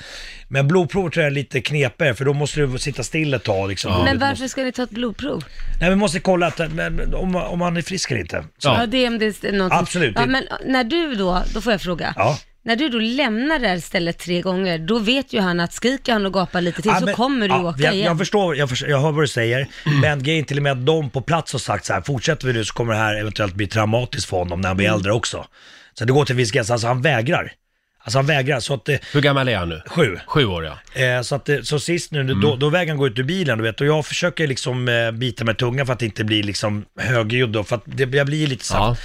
S6: men blodprovet tror jag är lite knepigare, för då måste du sitta still ett tag. Liksom.
S2: Men
S6: Blodet
S2: varför ska ni ta ett blodprov?
S6: måste- Nej, vi måste kolla att, men, om, om han är frisk eller inte. Så,
S1: Ja.
S2: Ja, det är om det är någonting.
S6: Absolut,
S2: Ja,
S6: det-
S2: men när du då, då får jag fråga.
S6: Ja.
S2: När du då lämnar det här stället tre gånger, då vet ju han att skriker han och gapar lite till
S6: Ja,
S2: så
S6: men-
S2: kommer du
S6: ja,
S2: åka
S6: jag,
S2: igen. Mm.
S6: Jag förstår, jag, förstår, jag hör vad du säger. Men grejen är till och med att de på plats har sagt så här, fortsätter vi nu så kommer det här eventuellt bli traumatiskt för honom när han blir
S2: Mm.
S6: äldre också. Så det går till en viss gräns, alltså han vägrar. Alltså han vägrar, så att det,
S1: Hur gammal är han nu?
S6: sju.
S1: Sju år, ja.
S6: Eh, så, att det, så sist nu, då,
S2: Mm.
S6: då vägrar han gå ut ur bilen, du vet. Och jag försöker liksom eh, bita med tungan för att inte bli liksom högljudd då, för att det, jag blir lite så här-
S1: ja.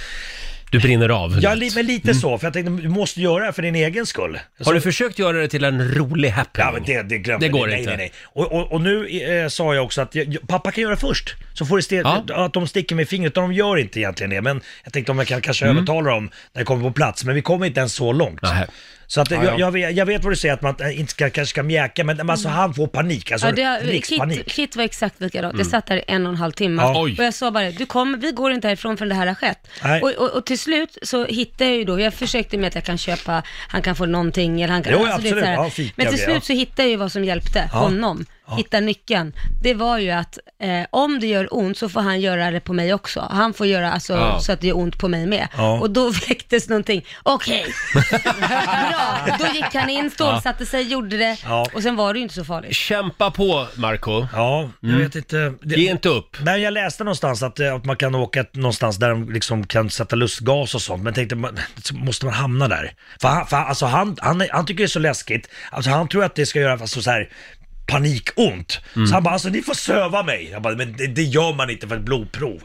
S1: Du brinner av.
S6: Ja,
S1: lätt.
S6: li, men
S2: Mm.
S6: lite så, för jag tänkte, du måste göra det för din egen skull.
S1: Har du försökt göra det till en rolig happening?
S6: Ja, men det, det glömde
S1: Det går
S6: ni. nej,
S1: inte.
S6: Nej, nej. Och, och, och nu eh, sa jag också att jag, jag- pappa kan göra först. Så får det ste-
S1: Ja.
S6: att de sticker med fingret. Och de gör inte egentligen det. Men jag tänkte om jag kan kanske övertala dem när det kommer på plats. Men vi kommer inte ens så långt.
S1: Mm. Nej.
S6: Så att, jag, jag, vet, jag vet vad du säger, att man eh, inte ska, kanske ska mjäka, men men alltså, han får panik. Alltså,
S2: Mm. Ja, det har,
S6: blixtpanik. Mm.
S2: Kit, Kit var exakt likadant. Jag satt där i en och en halv timme
S6: Ja.
S1: Oj.
S2: och jag sa bara, du kommer, vi går inte härifrån förrän det här har skett.
S6: Nej.
S2: Och, och, och till slut så hittade jag ju då, jag försökte med att jag kan köpa, han kan få någonting eller han kan...
S6: Jo,
S2: det är
S6: absolut.
S2: så här.
S6: Ja, fika
S2: Men till
S6: och
S2: slut
S6: grejer,
S2: så hittade jag ju vad som hjälpte honom, hitta nyckeln. Det var ju att eh, om det gör ont så får han göra det på mig också. Han får göra alltså,
S1: Ja.
S2: så att det gör ont på mig med.
S6: Ja.
S2: Och då (laughs) väcktes någonting,
S6: (laughs)
S2: okej, bra. Då gick han in, stålsatte sig, gjorde det
S6: Ja.
S2: och sen var det ju inte så farligt.
S1: Kämpa på, Marco.
S6: Ja, jag
S1: Mm.
S6: vet inte. Det,
S1: Ge inte upp.
S6: Nej, jag läste någonstans att, eh, att man kan åka ett- någonstans där de liksom kan sätta lustgas och sånt, men tänkte, man, så måste man hamna där? För han, för han- alltså han, han, är- han tycker det är så läskigt, alltså han tror att det ska göra alltså, så här panikont. Så han bara, alltså ni får söva mig. Jag bara, men det, det gör man inte för ett blodprov.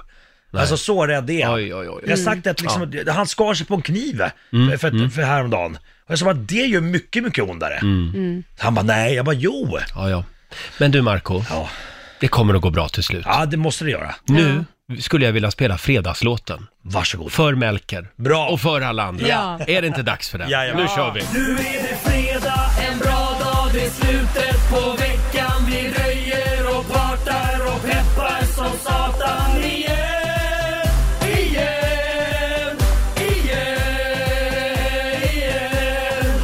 S6: Alltså så rädd är han.
S1: Oj, Mm. oj, oj. mm.
S6: Jag har sagt att liksom, han skar sig på en kniv eh, för, för, för häromdagen. Och Och jag sa bara, det är ju mycket, mycket ondare.
S1: Mm.
S6: Han bara, nej. Jag bara, jo.
S1: Ja, ja. Men du Marco,
S6: Ja,
S1: det kommer att gå bra till slut.
S6: ja det måste det göra.
S1: Nu skulle jag vilja spela fredagslåten.
S6: Varsågod.
S1: För Melker.
S6: Bra.
S1: Och för alla andra.
S2: Ja.
S1: Är det inte dags för det?
S6: Ja, ja.
S1: Nu
S6: Ja.
S1: kör vi!
S7: Nu är det fredag, en bra dag, det är slutet på veckan. Vi röjer och partar och peppar som satan. Igen, igen, igen, igen.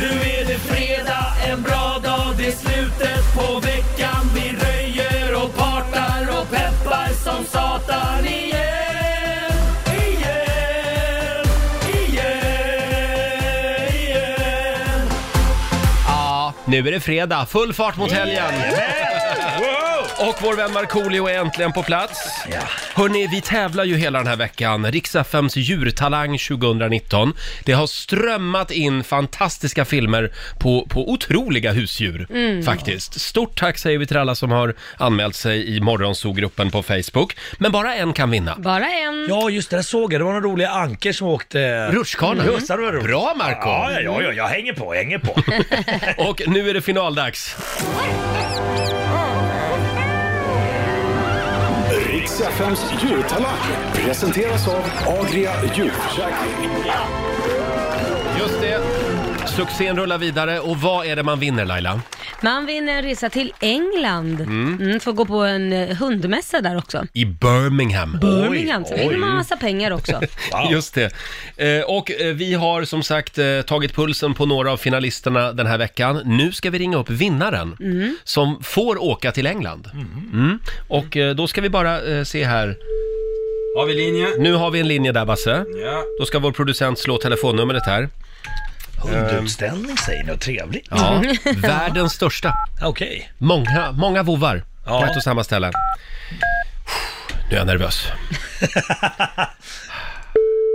S7: Nu är det fredag, en bra dag, det är slutet på veckan. Vi röjer och partar och peppar som satan. Igen, igen, igen, igen.
S1: Ja, nu är det fredag. Full fart mot helgen!
S6: Wow!
S1: Och vår vän Markoolio är äntligen på plats.
S6: Ja.
S1: Hörni, vi tävlar ju hela den här veckan. Riks-FMs djurtalang 2019. Det har strömmat in fantastiska filmer på, på otroliga husdjur, faktiskt. Stort tack säger vi till alla som har anmält sig i morgonsogruppen på Facebook. Men bara en kan vinna.
S2: Bara en.
S6: Ja, just det, där såg jag. Det var några roliga anker som åkte...
S1: Rutschkanan.
S6: Just det, det var roligt.
S1: Bra, Marco.
S6: Mm.
S1: Mm.
S6: Ja, ja, ja, ja, jag hänger på, jag hänger
S1: (laughs)
S6: på.
S1: Och nu är det finaldags.
S8: Riks FMs djurtalang presenteras av Agria djurförsäkring.
S1: Just det. Succén rullar vidare och vad är det man vinner Laila?
S2: Man vinner en resa till England. Mm. får gå på en eh, hundmässa där också.
S1: I Birmingham.
S2: Birmingham. Så
S6: oj.
S2: vinner man massa pengar också.
S6: Wow.
S1: Just det. Eh, Och eh, vi har som sagt eh, tagit pulsen på några av finalisterna den här veckan. Nu ska vi ringa upp vinnaren
S6: Mm.
S1: som får åka till England. Mm. Och eh, då ska vi bara eh, se här.
S5: Har vi linje?
S1: Nu har vi en linje där Basse.
S5: Ja.
S1: Då ska vår producent slå telefonnumret här.
S6: Hundutställning säger ni, och trevligt.
S1: Ja.
S6: (laughs)
S1: Världens största.
S6: Okej.
S1: Många, många vovvar
S6: Ja.
S1: på ett och samma ställe. Nu är jag
S6: (laughs)
S1: nervös.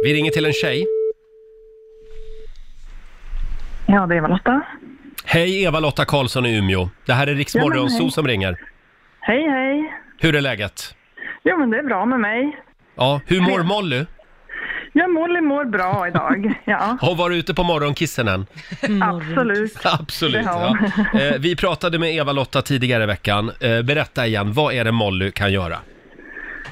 S1: Vi ringer till en tjej.
S9: Ja, det är Lotta.
S1: Hej Eva-Lotta Karlsson i Umeå. Det här är Rix
S9: Ja, men
S1: Morgonzoo
S9: hej.
S1: som ringer.
S9: Hej, hej.
S1: Hur är läget?
S9: Jo, men det är bra med mig.
S1: Ja, hur mår Molly?
S9: Ja, Molly mår bra idag.
S2: (laughs)
S9: Ja,
S1: Har hon varit ute på morgonkissen än?
S2: Mm,
S1: (laughs)
S9: absolut.
S1: Absolut.
S9: Det har
S1: Ja. Eh, Vi pratade med Eva-Lotta tidigare i veckan. Eh, Berätta igen, vad är det Molly kan göra?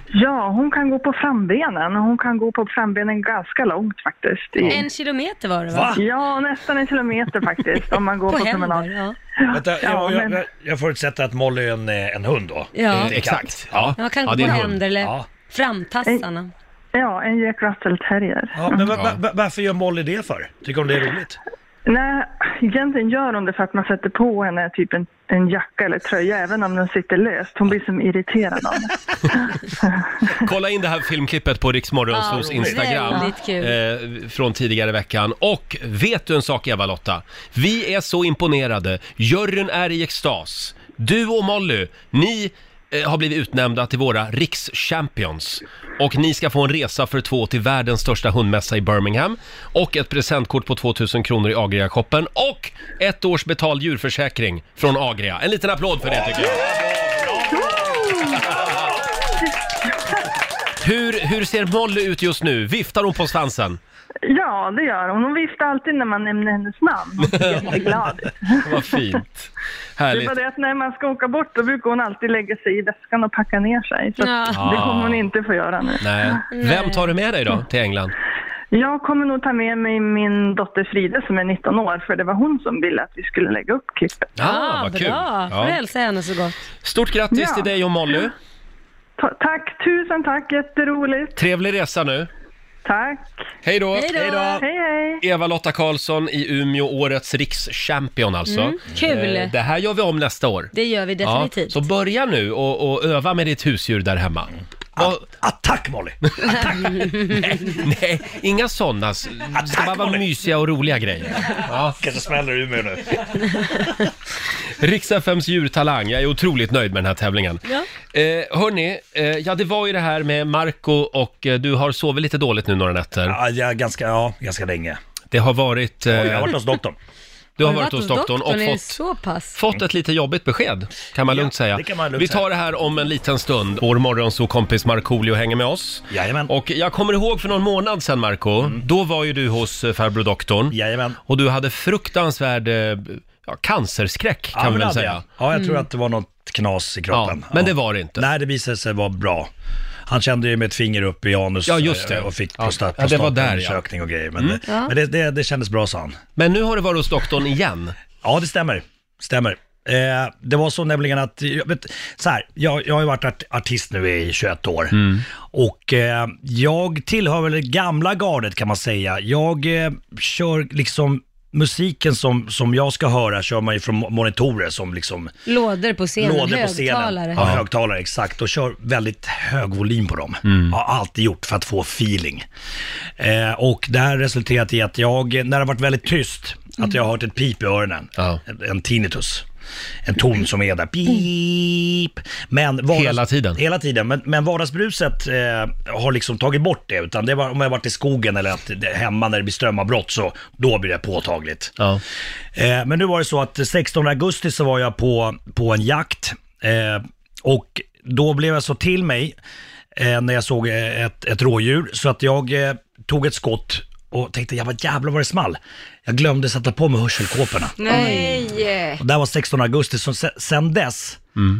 S9: Ja, hon kan gå på frambenen. Hon kan gå på frambenen ganska långt faktiskt.
S1: Mm.
S9: I,
S2: En kilometer var det va?
S6: Va?
S9: ja, nästan en kilometer faktiskt
S2: (laughs)
S9: om man går
S2: På
S9: på,
S2: händer.
S9: promenad.
S2: Ja.
S6: Vänta,
S9: Ja,
S6: jag, jag,
S9: men-
S6: jag, jag förutsätter att Molly är en, eh, en hund då?
S2: Ja.
S6: Eh,
S1: Exakt. Ja,
S2: Man kan
S1: ja,
S2: gå
S1: det
S2: på
S1: är en hund.
S2: händer eller
S6: Ja.
S2: framtassarna.
S9: Ja, en Jack Russell terrier.
S6: Ja, men va,
S1: Ja.
S6: va, va, varför gör Molly det för? Tycker hon det är roligt?
S9: Nej, egentligen gör hon det för att man sätter på henne typ en, en jacka eller tröja även om den sitter löst. Hon blir som irriterad av
S2: (laughs)
S9: det.
S1: Kolla in det här filmklippet på Rix Morgonzoos
S2: Ja,
S1: Instagram
S2: väldigt
S1: eh, från tidigare i veckan. Och vet du en sak Eva-Lotta? Vi är så imponerade. Juryn är i extas. Du och Molly, ni eh, har blivit utnämnda till våra rikschampions. Och ni ska få en resa för två till världens största hundmässa i Birmingham. Och ett presentkort på 2000 kronor i Agria-shoppen. Och ett års betald djurförsäkring från Agria. En liten applåd för det tycker jag. Hur, hur ser Molly ut just nu? Viftar hon på svansen?
S9: Ja, det gör hon. Hon viftar alltid när man nämner hennes namn. Hon ser jätteglad ut.
S1: Vad fint.
S9: Det är
S1: Härligt.
S9: bara det att när man ska åka bort då brukar hon alltid lägga sig i väskan och packa ner sig. Så att
S2: Ja.
S9: det kommer hon inte få göra nu.
S1: Nej. Vem tar du med dig då till England?
S9: Jag kommer nog ta med mig min dotter Frida som är 19 år för det var hon som ville att vi skulle lägga upp klippet.
S1: Ah, vad kul.
S2: bra. Får
S1: Ja.
S2: hälsa henne så gott.
S1: Stort grattis
S9: Ja.
S1: till dig och Molly.
S9: Ta- tack, tusen tack, jätteroligt.
S1: Trevlig resa nu.
S9: Tack.
S1: Hej då.
S2: Hej då.
S9: Hej hej.
S1: Eva-Lotta Karlsson i Umeå, årets rikschampion alltså.
S2: Kul.
S1: Eh, Det här gör vi om nästa år.
S2: Det gör vi
S1: Ja,
S2: definitivt.
S1: så börja nu och, och öva med ditt husdjur där hemma. Vad-
S6: Attack Ah, Molly!
S1: (laughs) nej, inga sådana. Det ska bara vara
S6: Molly.
S1: mysiga och roliga grejer. Ja.
S6: Kanske smäller i Umeå nu.
S1: Riks-FMs djurtalang, jag är otroligt nöjd med den här tävlingen.
S2: Ja.
S1: Eh, hörni, eh, ja det var ju det här med Marco och eh, du har sovit lite dåligt nu några nätter.
S6: Ja, jag, ganska, ja, ganska länge.
S1: Det har varit... Eh,
S6: Oj, jag har varit hos doktorn.
S1: Du har varit hos doktorn och
S2: Är det
S1: fått,
S2: så pass?
S1: fått ett lite jobbigt besked, kan man lugnt säga.
S6: det kan man lugnt
S1: Vi tar det här om en liten stund. Vår morgonsåkompis Markoolio hänger med oss.
S6: Jajamän.
S1: Och jag kommer ihåg för någon månad sedan, Marco.
S6: Mm.
S1: Då var ju du hos eh, farbror doktorn.
S6: Jajamän.
S1: Och du hade fruktansvärd eh, ja, cancerskräck, kan
S6: ja,
S1: man
S6: men
S1: väl
S6: hade
S1: säga.
S6: jag. Ja, jag tror att det var något knas i kroppen.
S1: men det var det inte.
S6: Nej, det visade sig vara bra. Han kände ju med ett finger upp i anus
S1: Ja, just det.
S6: eh, och fick
S1: Ja.
S6: prostat,
S1: Ja, det var där, ja. Mm.
S6: prostatundersökning och grejer. Men, det, men det, det, det kändes bra, sa han.
S1: Men nu har du varit hos doktorn igen.
S6: Ja, det stämmer. Stämmer. Eh, det var så nämligen att, jag vet, så här, jag, jag har ju varit art, artist nu i 21 år.
S1: Mm.
S6: Och eh, jag tillhör väl det gamla gardet kan man säga. Jag eh, kör liksom musiken som, som jag ska höra kör man ju från mo- monitorer som liksom
S2: Lådor på scenen,
S6: lådor på
S2: högtalare.
S6: scenen. Ja, högtalare, exakt. Och kör väldigt hög volym på dem.
S1: Mm.
S6: Har alltid gjort för att få feeling. Eh, och det här har resulterat i att jag, när det har varit väldigt tyst,
S2: Mm.
S6: att jag har hört ett pip i öronen.
S1: Ja.
S6: En, en tinnitus. En ton som är där, pip. Men vardags-
S1: Hela tiden.
S6: Hela tiden, men, men vardagsbruset eh, har liksom tagit bort det. Utan det var om jag varit i skogen eller att, det, hemma när det blir strömavbrott, så då blir det påtagligt.
S1: Ja.
S6: Eh, men nu var det så att 16 augusti så var jag på, på en jakt eh, och då blev jag så till mig eh, när jag såg eh, ett, ett rådjur så att jag eh, tog ett skott och tänkte jag vad jävlar vad det small. Jag glömde sätta på mig hörselkåporna.
S2: Nej!
S6: Och Det här var 16 augusti, så se- sen dess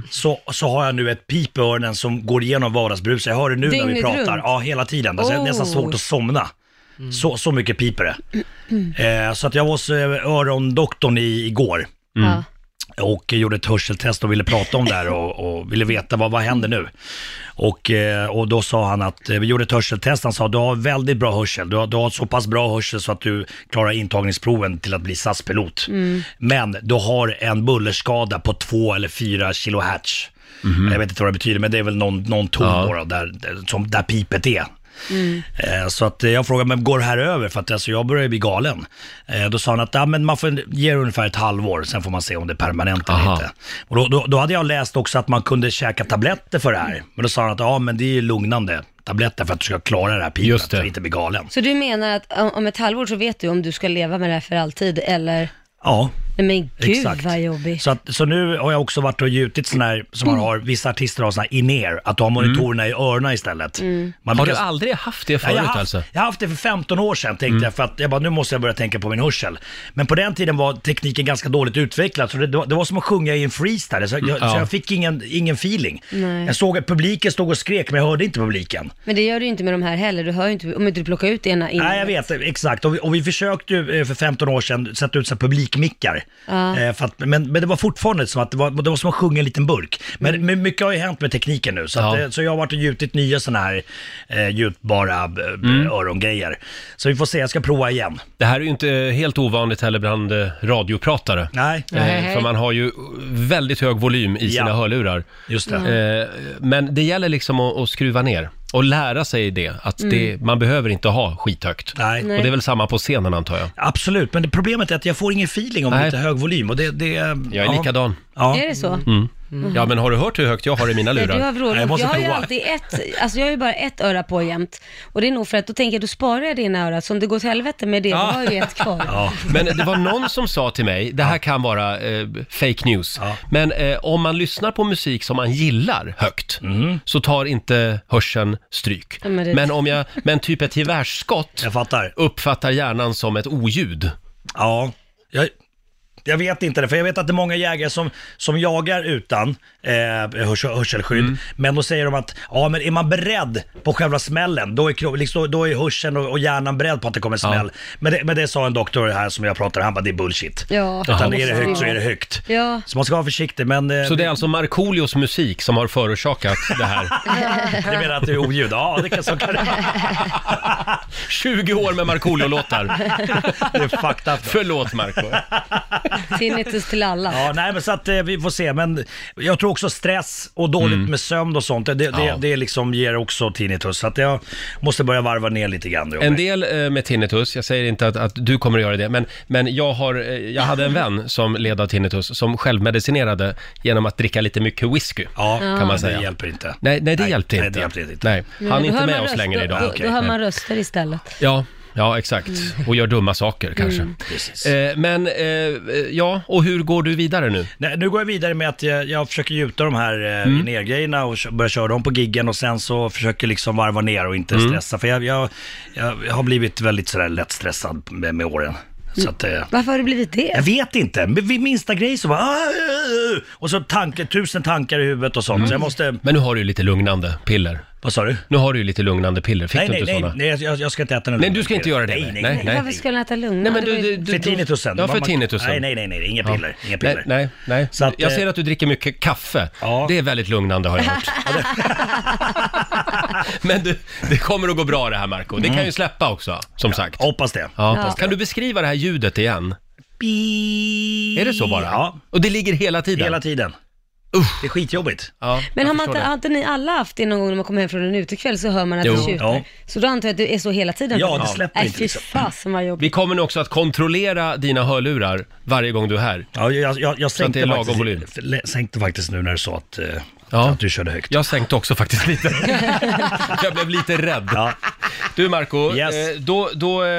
S6: så, så har jag nu ett pip i öronen som går igenom vardagsbruset. Jag hör det nu när vi
S2: Dygnet
S6: pratar.
S2: runt?
S6: Ja, hela tiden. Alltså, Det är
S2: Oh. Mm.
S6: nästan svårt att somna. Så, så mycket piper
S2: (clears throat)
S6: det. Eh, så att jag var hos eh, örondoktorn i, igår
S1: Mm.
S2: Ja.
S6: och gjorde ett hörseltest och ville prata om det här och, och ville veta vad, vad händer nu. Och, eh, och då sa han att, eh, vi gjorde ett hörseltest, han sa du har väldigt bra hörsel, du har, du har så pass bra hörsel så att du klarar intagningsproven till att bli SAS-pilot. Men du har en bullerskada på 2 eller 4 kilohertz. Jag vet inte vad det betyder, men det är väl någon, någon ton
S1: Mm-hmm. Ja.
S6: då då, där, där- som, där pipet är.
S2: Mm.
S6: Eh, Så att eh, jag frågade, men går det här över? För att alltså, jag börjar ju bli galen. Eh, Då sa han att ja, men man får ge det ungefär ett halvår, sen får man se om det är permanent eller
S1: Aha.
S6: inte. Och då, då, då hade jag läst också att man kunde käka tabletter för det här. Men då sa han att ja, men det är ju lugnande tabletter för att du ska klara det här pipet
S1: Just det.
S6: och inte bli galen.
S2: Så du menar att om- om ett halvår så vet du om du ska leva med det här för alltid eller?
S6: Ja,
S2: Nej men gud
S6: Exakt.
S2: vad jobbigt. Mm.
S6: Så, att, så nu har jag också varit och gjutit sån här, som man har, vissa artister har sån här in-ear, att du har monitorerna i öronen istället.
S2: Mm.
S6: Man
S1: Mm. Har du
S6: brukar-
S1: aldrig haft det
S6: Ja,
S1: förut
S6: jag, har haft,
S1: alltså? Mm.
S6: jag har haft det för 15 år sedan tänkte jag, för att jag bara, nu måste jag börja tänka på min hörsel. Men på den tiden var tekniken ganska dåligt utvecklad, så det, det var- det var som att sjunga i en freestyle, så jag, så
S1: Mm, Ja.
S6: jag fick ingen, ingen feeling.
S2: Nej.
S6: Jag såg att publiken stod och skrek, men jag hörde inte publiken.
S2: Men det gör du ju inte med de här heller, du hör ju inte, om inte du plockar ut det ena in.
S6: Nej, jag vet, exakt. Och vi, och vi försökte ju eh, för 15 år sedan sätta ut så här publikmickar. Eh, För att, men, men det var fortfarande som att det var, det var som att sjunga i en liten burk. Men, men mycket har ju hänt med tekniken nu, så, att,
S1: Ja.
S6: eh, så jag har varit och gjutit nya sådana här eh, gjutbara eh,
S1: Mm.
S6: örongrejer. Så vi får se, jag ska prova igen.
S1: Det här är ju inte helt ovanligt heller bland eh, radiopratare.
S6: Nej,
S1: Eh, För man har ju väldigt hög volym i sina
S6: Ja. Mm.
S1: hörlurar.
S6: just det.
S1: Eh, Men det gäller liksom att, att skruva ner och lära sig det, att det, man behöver inte ha skithögt.
S6: Mm. Nej.
S1: Och det är väl samma på scenen antar jag.
S6: Absolut, men det problemet är att jag får ingen feeling om det
S1: Nej.
S6: inte är hög volym. Och det, det,
S1: Jag är likadan.
S6: Ja. Mm.
S2: Är det så?
S1: Ja, men har du hört hur högt jag har i mina
S2: Ja,
S1: lurar?
S2: du har vrålat.
S6: Nej, jag
S2: Jag,
S6: måste
S2: har ju
S6: prova.
S2: alltid ett, alltså jag har ju bara ett öra på jämt. Och det är nog för att då tänker jag, då sparar jag det ena örat, så om det går till helvete med det, då har jag ju ett kvar.
S6: Ja.
S1: Men det var någon som sa till mig, det här kan vara eh, fake news,
S6: Ja.
S1: men eh, om man lyssnar på musik som man gillar högt
S6: Mm.
S1: så tar inte hörseln stryk.
S2: Ja,
S1: men,
S2: men det-
S1: om jag, men typ ett gevärsskott
S6: Jag fattar.
S1: uppfattar hjärnan som ett oljud.
S6: Ja. Jag, jag vet inte det, för jag vet att det är många jägare som, som jagar utan eh, hörs, hörselskydd.
S2: Mm.
S6: Men då säger de att, ja men är man beredd på själva smällen, då är, kro- liksom, då är hörseln och, och hjärnan beredd på att det kommer smäll. Men, det, men det sa en doktor här som jag pratade han bara det är bullshit.
S2: Ja,
S6: Utan
S2: det
S6: är det
S2: måste
S6: högt så
S2: vara.
S6: är det högt.
S2: Ja.
S6: Så man ska vara försiktig, men... eh,
S1: Så det är alltså Markoolios musik som har förorsakat det
S6: (laughs)
S1: här.
S6: Du menar att det är oljud? Ja, det kan, så kan det
S2: (laughs)
S6: vara.
S1: 20 år med Markoolio-låtar.
S6: Det är fucked up.
S1: Förlåt Marco.
S2: Tinnitus till alla.
S6: Ja, nej men så att eh, vi får se. Men jag tror också stress och dåligt med sömn och sånt, det, det,
S1: Mm. Ja.
S6: det liksom ger också tinnitus. Så att jag måste börja varva ner lite grann.
S1: En del eh, med tinnitus, jag säger inte att, att du kommer att göra det, men, men jag, har, eh, jag hade en
S6: (laughs)
S1: vän som led av tinnitus som självmedicinerade genom att dricka lite mycket whisky.
S6: ja,
S1: kan man
S6: det
S1: säga.
S6: hjälper inte.
S1: Nej, nej, det
S6: Nej,
S1: hjälpte
S6: nej,
S1: inte.
S6: det hjälpte inte.
S1: Nej,
S2: Men
S1: han
S2: Mm. då
S1: är
S2: hör
S1: inte med
S2: man Mm.
S1: oss
S2: röst-
S1: längre
S2: då-
S1: idag.
S2: Då,
S6: okej.
S2: då hör
S6: Nej.
S2: man röster istället.
S1: Ja, Ja, exakt. Och gör dumma saker kanske.
S6: Mm. Precis.
S1: Eh, men, eh, ja, och hur går du vidare nu?
S6: Nej, nu går jag vidare med att jag, jag försöker gjuta de här eh,
S1: Mm.
S6: Linnéer-grejerna och kö- börja köra dem på giggen och sen så försöker liksom varva ner och inte
S1: Mm.
S6: stressa. För jag, jag, jag, har blivit väldigt sådär lätt stressad med, med åren. Så att, eh,
S2: Varför har du blivit det?
S6: jag vet inte, men vid minsta grej så bara... "Ah, eh, eh." Och så tanke, tusen tankar i huvudet och sånt. Så
S1: Mm.
S6: jag måste...
S1: Men nu har du ju lite lugnande piller.
S6: Vad sa du?
S1: Nu har du ju lite lugnande piller. Fick
S6: Nej,
S1: du
S6: nej,
S1: inte
S6: nej,
S1: sådana?
S6: nej, jag, jag ska inte äta några
S1: Nej, du ska inte göra det.
S6: Nej, nej,
S1: Nej,
S6: nej.
S1: nej.
S2: Varför skulle han äta lugn?
S1: Nej, men
S2: Det var
S1: du,
S2: ju-
S1: du, du,
S6: För tinnitusen.
S1: Ja, för
S6: Man-
S1: tinnitusen.
S6: Nej, nej, nej, nej, inga
S1: Ja.
S6: piller. Inga piller.
S1: Nej, nej. nej.
S6: Så att,
S1: jag
S6: eh,
S1: ser att du dricker mycket kaffe. Det är väldigt lugnande har jag
S6: (laughs)
S1: hört. (laughs) Men du, det kommer att gå bra det här Marco.
S6: Mm.
S1: Det kan ju släppa också, som sagt.
S6: Hoppas det.
S1: Ja.
S2: Hoppas
S1: Kan du beskriva det här ljudet igen?
S6: Beep.
S1: Är det så bara?
S6: Ja,
S1: Och det ligger hela tiden?
S6: hela tiden. Det är skitjobbigt.
S1: Ja,
S2: Men
S1: jag
S2: har, man
S1: förstår
S2: inte,
S1: det.
S2: har inte ni alla haft det någon gång när man kommer hem från en utekväll så hör man att
S1: Jo,
S2: det tjuter?
S6: ja.
S2: Så då antar jag att det är så hela tiden?
S6: Ja, det släpper
S2: Nej,
S6: inte,
S2: fy
S6: liksom.
S2: fasen vad jobbigt.
S1: Vi kommer nog också att kontrollera dina hörlurar varje gång du är här.
S6: Ja, jag, jag, jag
S1: att det
S6: sänkte,
S1: är lagom
S6: faktiskt,
S1: volym.
S6: le- sänkte faktiskt nu när du sa att, eh,
S1: Ja.
S6: att du körde högt.
S1: Jag sänkte också faktiskt
S6: (laughs)
S1: lite. jag blev lite rädd.
S6: Ja.
S1: Du Marco,
S6: Yes.
S1: eh, då, då eh,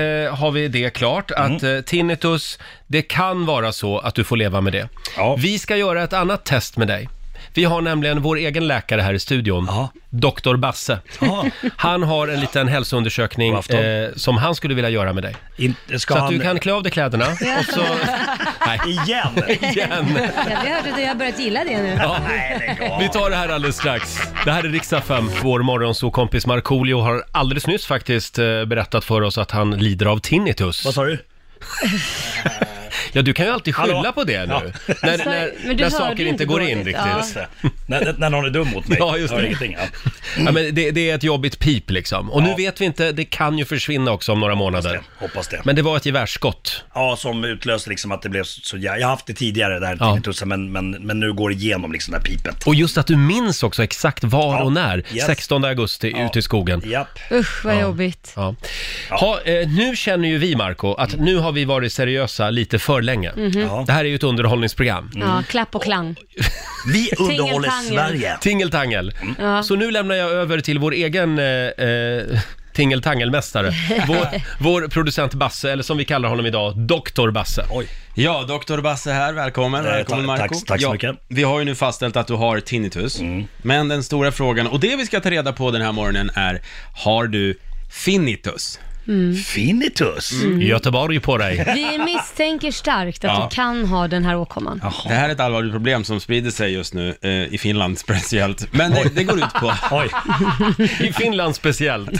S1: eh, har vi det klart att
S6: Mm.
S1: eh, tinnitus, det kan vara så att du får leva med det.
S6: Ja.
S1: Vi ska göra ett annat test med dig. Vi har nämligen vår egen läkare här i studion,
S6: Ja.
S1: Dr. Basse.
S6: Ja.
S1: Han har en liten hälsoundersökning
S6: God afton.
S1: eh, som han skulle vilja göra med dig.
S6: In, ska
S1: så
S6: han...
S1: att du kan klä av dig kläderna och så...
S6: (laughs)
S1: Nej, (laughs)
S6: Igen?
S1: igen!
S2: Ja, vi har hört att jag har börjat gilla det nu.
S1: Ja.
S6: Nej, lägg av.
S1: Vi tar det här alldeles strax. Det här är riksdag 5. Vår morgonsåkompis Markoolio har alldeles nyss faktiskt eh, berättat för oss att han lider av tinnitus.
S6: Vad
S1: (laughs)
S6: sa du?
S1: Ja, du kan ju alltid skylla
S6: Hallå?
S1: på det nu.
S6: Ja.
S1: När, när,
S2: Sorry, Alltså, men du
S1: när
S2: hörde
S1: saker
S2: ju
S1: inte
S2: inte
S1: går in
S2: dåligt.
S1: riktigt.
S2: Ja.
S1: Ja.
S6: Just det. när, när någon är dum mot mig.
S1: Ja, just
S6: Hör
S1: det.
S6: Ingenting, ja.
S1: men det, det är ett jobbigt pip liksom. Och nu
S6: Ja.
S1: vet vi inte, det kan ju försvinna också om några månader.
S6: Hoppas det.
S1: Men det var ett gevärsskott.
S6: Ja, som utlöste liksom att det blev så... jä- Jag har haft det tidigare, det här
S1: Ja.
S6: tinnitusen, men, men, men nu går det igenom liksom det här pipet.
S1: Och just att du minns också exakt var
S6: Ja.
S1: och när.
S6: Yes.
S1: 16 augusti,
S6: Ja.
S1: ute i skogen.
S6: Japp.
S2: Usch vad jobbigt.
S1: Ja. Ha, eh, nu känner ju vi, Marco, att
S6: Mm.
S1: nu har vi varit seriösa lite för länge.
S6: Ja.
S1: Det här är ju ett underhållningsprogram.
S6: Mm.
S2: Ja, klapp och klang.
S6: Vi underhåller
S2: Tingeltangel.
S6: Sverige.
S1: Tingeltangel.
S6: Mm.
S2: Ja.
S1: Så nu lämnar jag över till vår egen eh, eh,
S6: (laughs)
S1: tingeltangelmästare. Vår, vår producent Basse, eller som vi kallar honom idag, Doktor Basse.
S6: Oj.
S5: Ja, doktor Basse här, välkommen.
S6: Eh,
S5: välkommen
S6: ta-
S5: Marco.
S6: tack- tack så
S5: ja,
S6: mycket. Mm.
S5: Vi har ju nu fastställt att du har tinnitus. Men den stora frågan, och det vi ska ta reda på den här morgonen är, har du finitus?
S6: Finitus.
S1: Mm. Göteborg på dig.
S2: Vi misstänker starkt att
S5: Ja.
S2: du kan ha den här åkomman.
S5: Det här är ett allvarligt problem som sprider sig just nu, eh, i Finland (laughs) speciellt. Men det, det går ut på,
S6: Oj. (laughs)
S1: I Finland speciellt.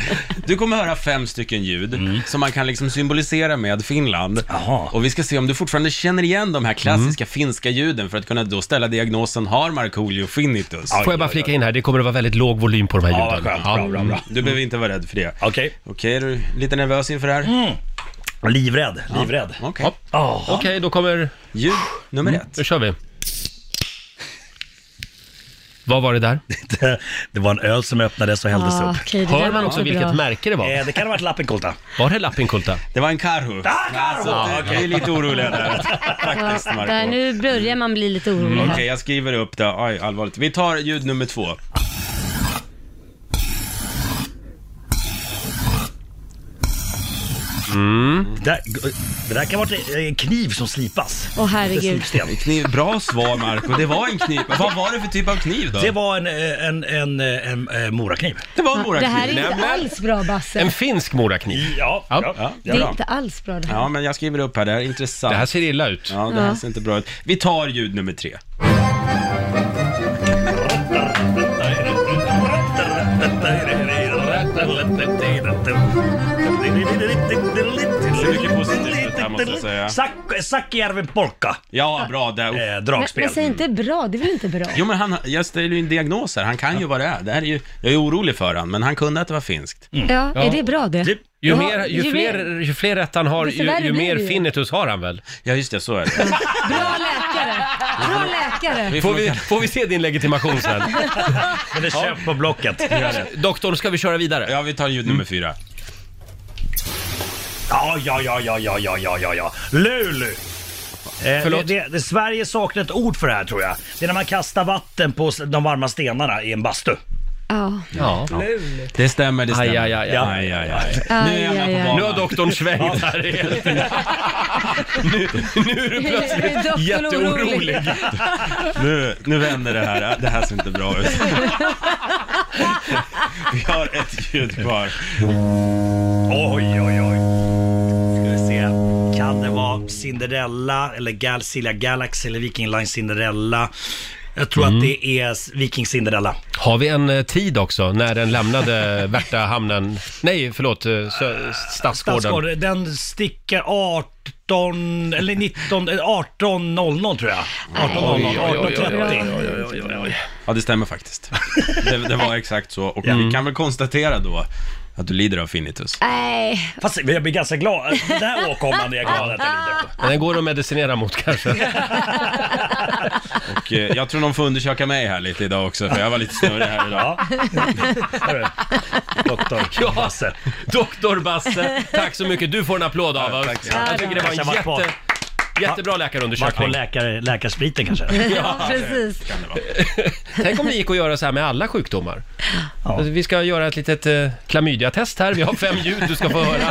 S5: du kommer höra fem stycken ljud som man kan liksom symbolisera med Finland.
S6: Jaha.
S5: Och vi ska se om du fortfarande känner igen de här klassiska finska ljuden för att kunna då ställa diagnosen, har Markoolio finitus?
S1: Får jag bara flika in här, det kommer att vara väldigt låg volym på de här
S6: Ja, vad
S1: ljuden. Mm.
S6: skönt. Bra, bra, bra.
S5: Du behöver inte vara rädd för det.
S6: Okej.
S5: Okej, är du lite nervös inför det här?
S6: Livrädd, livrädd.
S5: Okej.
S1: Ja. Okej, då kommer...
S5: Ljud nummer ett.
S1: Nu kör vi. Vad var det där?
S6: Det, det var en öl som öppnades och hälldes
S2: Ah,
S6: upp.
S2: okej, det
S1: Hör
S2: där
S1: man
S2: var
S1: också
S2: inte
S1: vilket
S2: bra.
S1: märke det var?
S6: Eh, det kan ha varit Lappinkulta.
S1: Var det Lappinkulta?
S5: Det var en karhu.
S6: Ah, Karhu!
S5: Så vi är lite oroliga där. Faktiskt,
S2: Ja, där,
S5: Marco.
S2: nu börjar man bli lite orolig
S1: Mm,
S2: här.
S5: Okej, jag skriver upp det. Aj, allvarligt. Vi tar ljud nummer två.
S6: Det där, det där kan ha varit en kniv som slipas.
S2: Åh herregud.
S6: Slipsten.
S5: Kniv. Bra svar, Marco. Det var en kniv. Vad var det för typ av kniv då?
S6: Det var en, eh, en, en, eh, en, eh, morakniv.
S5: det var en
S2: Det här är
S5: morakniv.
S2: inte alls bra
S1: En
S2: Basse.
S1: finsk morakniv.
S6: Ja,
S1: Ja.
S6: ja.
S5: Ja,
S2: Det
S5: det
S2: är
S5: är
S2: inte alls bra det här.
S5: Ja, men jag skriver upp här. Det här är intressant.
S1: Det här ser illa ut.
S5: Ja, det här ser inte bra ut. Vi tar ljud nummer tre. mycket positivt här, måste jag säga.
S6: Sak- Sakijärven polka.
S5: Ja, bra. Där.
S6: Eh,
S2: Men,
S6: dragspel.
S2: men säg inte bra, det är väl inte bra?
S5: Jo, men han, jag ställer ju en diagnos här. Han kan ju vad det är. Det här är ju, jag är orolig för han, men han kunde att det var finskt.
S1: Mm.
S2: Ja, är det bra det?
S6: Typ.
S1: Ju,
S2: Ja,
S1: mer, ju,
S2: ju mer-
S1: fler, ju fler rätt han har,
S2: Desto
S1: ju,
S2: värre
S1: ju
S2: blir
S1: mer
S2: det ju.
S1: finitus har han väl?
S5: Ja, just det. Så är
S1: (laughs)
S5: det.
S2: Bra läkare! Bra läkare!
S5: Vi
S1: Får
S5: får
S1: vi,
S5: vi...
S1: får vi se din legitimation sen?
S6: Eller köp på Blocket.
S1: Doktorn, ska vi köra vidare?
S5: Ja, vi tar ljud
S1: Mm.
S5: nummer fyra.
S6: Ja, ja, ja, ja, ja, ja, ja, ja, ja. Lulu! Eh,
S1: Förlåt?
S6: Det, det, det, Sverige saknar ett ord för det här tror jag. Det är när man kastar vatten på s- de varma stenarna i en bastu.
S10: Ja.
S1: Ja.
S5: Det stämmer, det
S1: Aj,
S5: stämmer.
S1: aj, aj, aj.
S5: aj, aj, aj.
S10: Aj,
S5: Nu är
S10: aj,
S5: man
S10: aj.
S5: på
S1: Nu har
S5: banan.
S1: doktorn svängt här helt. Nu, nu är du
S2: Är (laughs) doktorn
S1: plötsligt jätteorolig.
S2: orolig?
S5: Nu, nu vänder det här. Det här ser inte bra ut.
S1: (laughs)
S5: Vi har ett ljud kvar.
S6: Oj, oj, oj. Ska vi se. Kan det vara Cinderella eller Gal Silja Galaxy eller Viking Line Cinderella? Jag tror
S1: Mm.
S6: att det är Viking Cinderella.
S1: Har vi en eh, tid också när den lämnade Värtahamnen? Nej, förlåt, eh, Sö- Stadsgården.
S6: Stadsgård, den sticker 18, eller 19, eh, 18.00 tror jag. 18.00,
S1: Oj, oj, oj, oj,
S6: 18.30.
S5: Ja, det stämmer faktiskt. Det, det var exakt så. Och
S1: Mm.
S5: vi kan väl konstatera då att du lider av tinnitus.
S10: Nej,
S6: Fast jag blir ganska glad. Den här åkomman är jag glad att jag lider på.
S1: Men Den går att medicinera mot kanske.
S5: Och eh, jag tror någon får undersöka mig här lite idag också, för jag var lite snurrig här idag.
S6: Ja. Hörru, Doktor Basse.
S1: Doktor Basse, tack så mycket. Du får en applåd av oss. Jag tycker det var
S6: Kanske varit
S1: en
S6: på-
S1: jätte, jättebra
S6: Vart på
S1: läkarundersökning.
S6: läkare, läkarspriten kanske?
S2: Ja, (laughs) precis.
S1: Tänk om det gick att göra så här med alla sjukdomar. Alltså, Vi ska göra ett litet eh, klamydiatest här. Vi har fem ljud du ska få höra.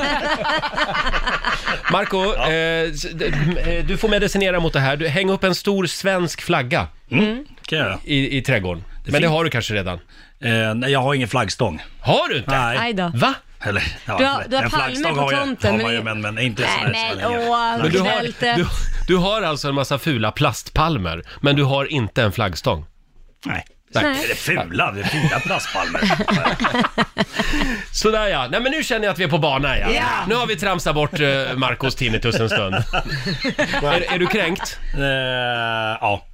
S1: Marco, eh, s- d- m- eh, du får medicinera mot det här. Du, häng upp en stor svensk flagga
S6: Kan jag göra?
S1: i, i trädgården. Men det
S6: finns-
S1: har du kanske redan.
S6: Eh, nej, jag har ingen flaggstång.
S1: Har du inte?
S6: Nej.
S2: Aj då.
S1: Va?
S6: Eller, ja,
S2: Du har- du har
S6: en
S2: palmer
S6: flaggstång
S2: på
S6: har jag-
S2: tomten,
S6: Har man ju,
S2: men-
S6: men, men inte sån här
S2: Nej men
S6: som jag gör.
S2: åh,
S1: Men du, har,
S2: knältet.
S1: du, du har alltså en massa fula plastpalmer, men du har inte en flaggstång.
S6: Nej.
S1: Nej.
S6: Är det fula? Det är fula
S2: (laughs)
S6: plastpalmer.
S1: Sådär ja, nej men nu känner jag att vi är på bana igen. Nu har vi tramsat bort eh, Marcos tinnitus en stund. är, är du kränkt?
S6: Eh, ja.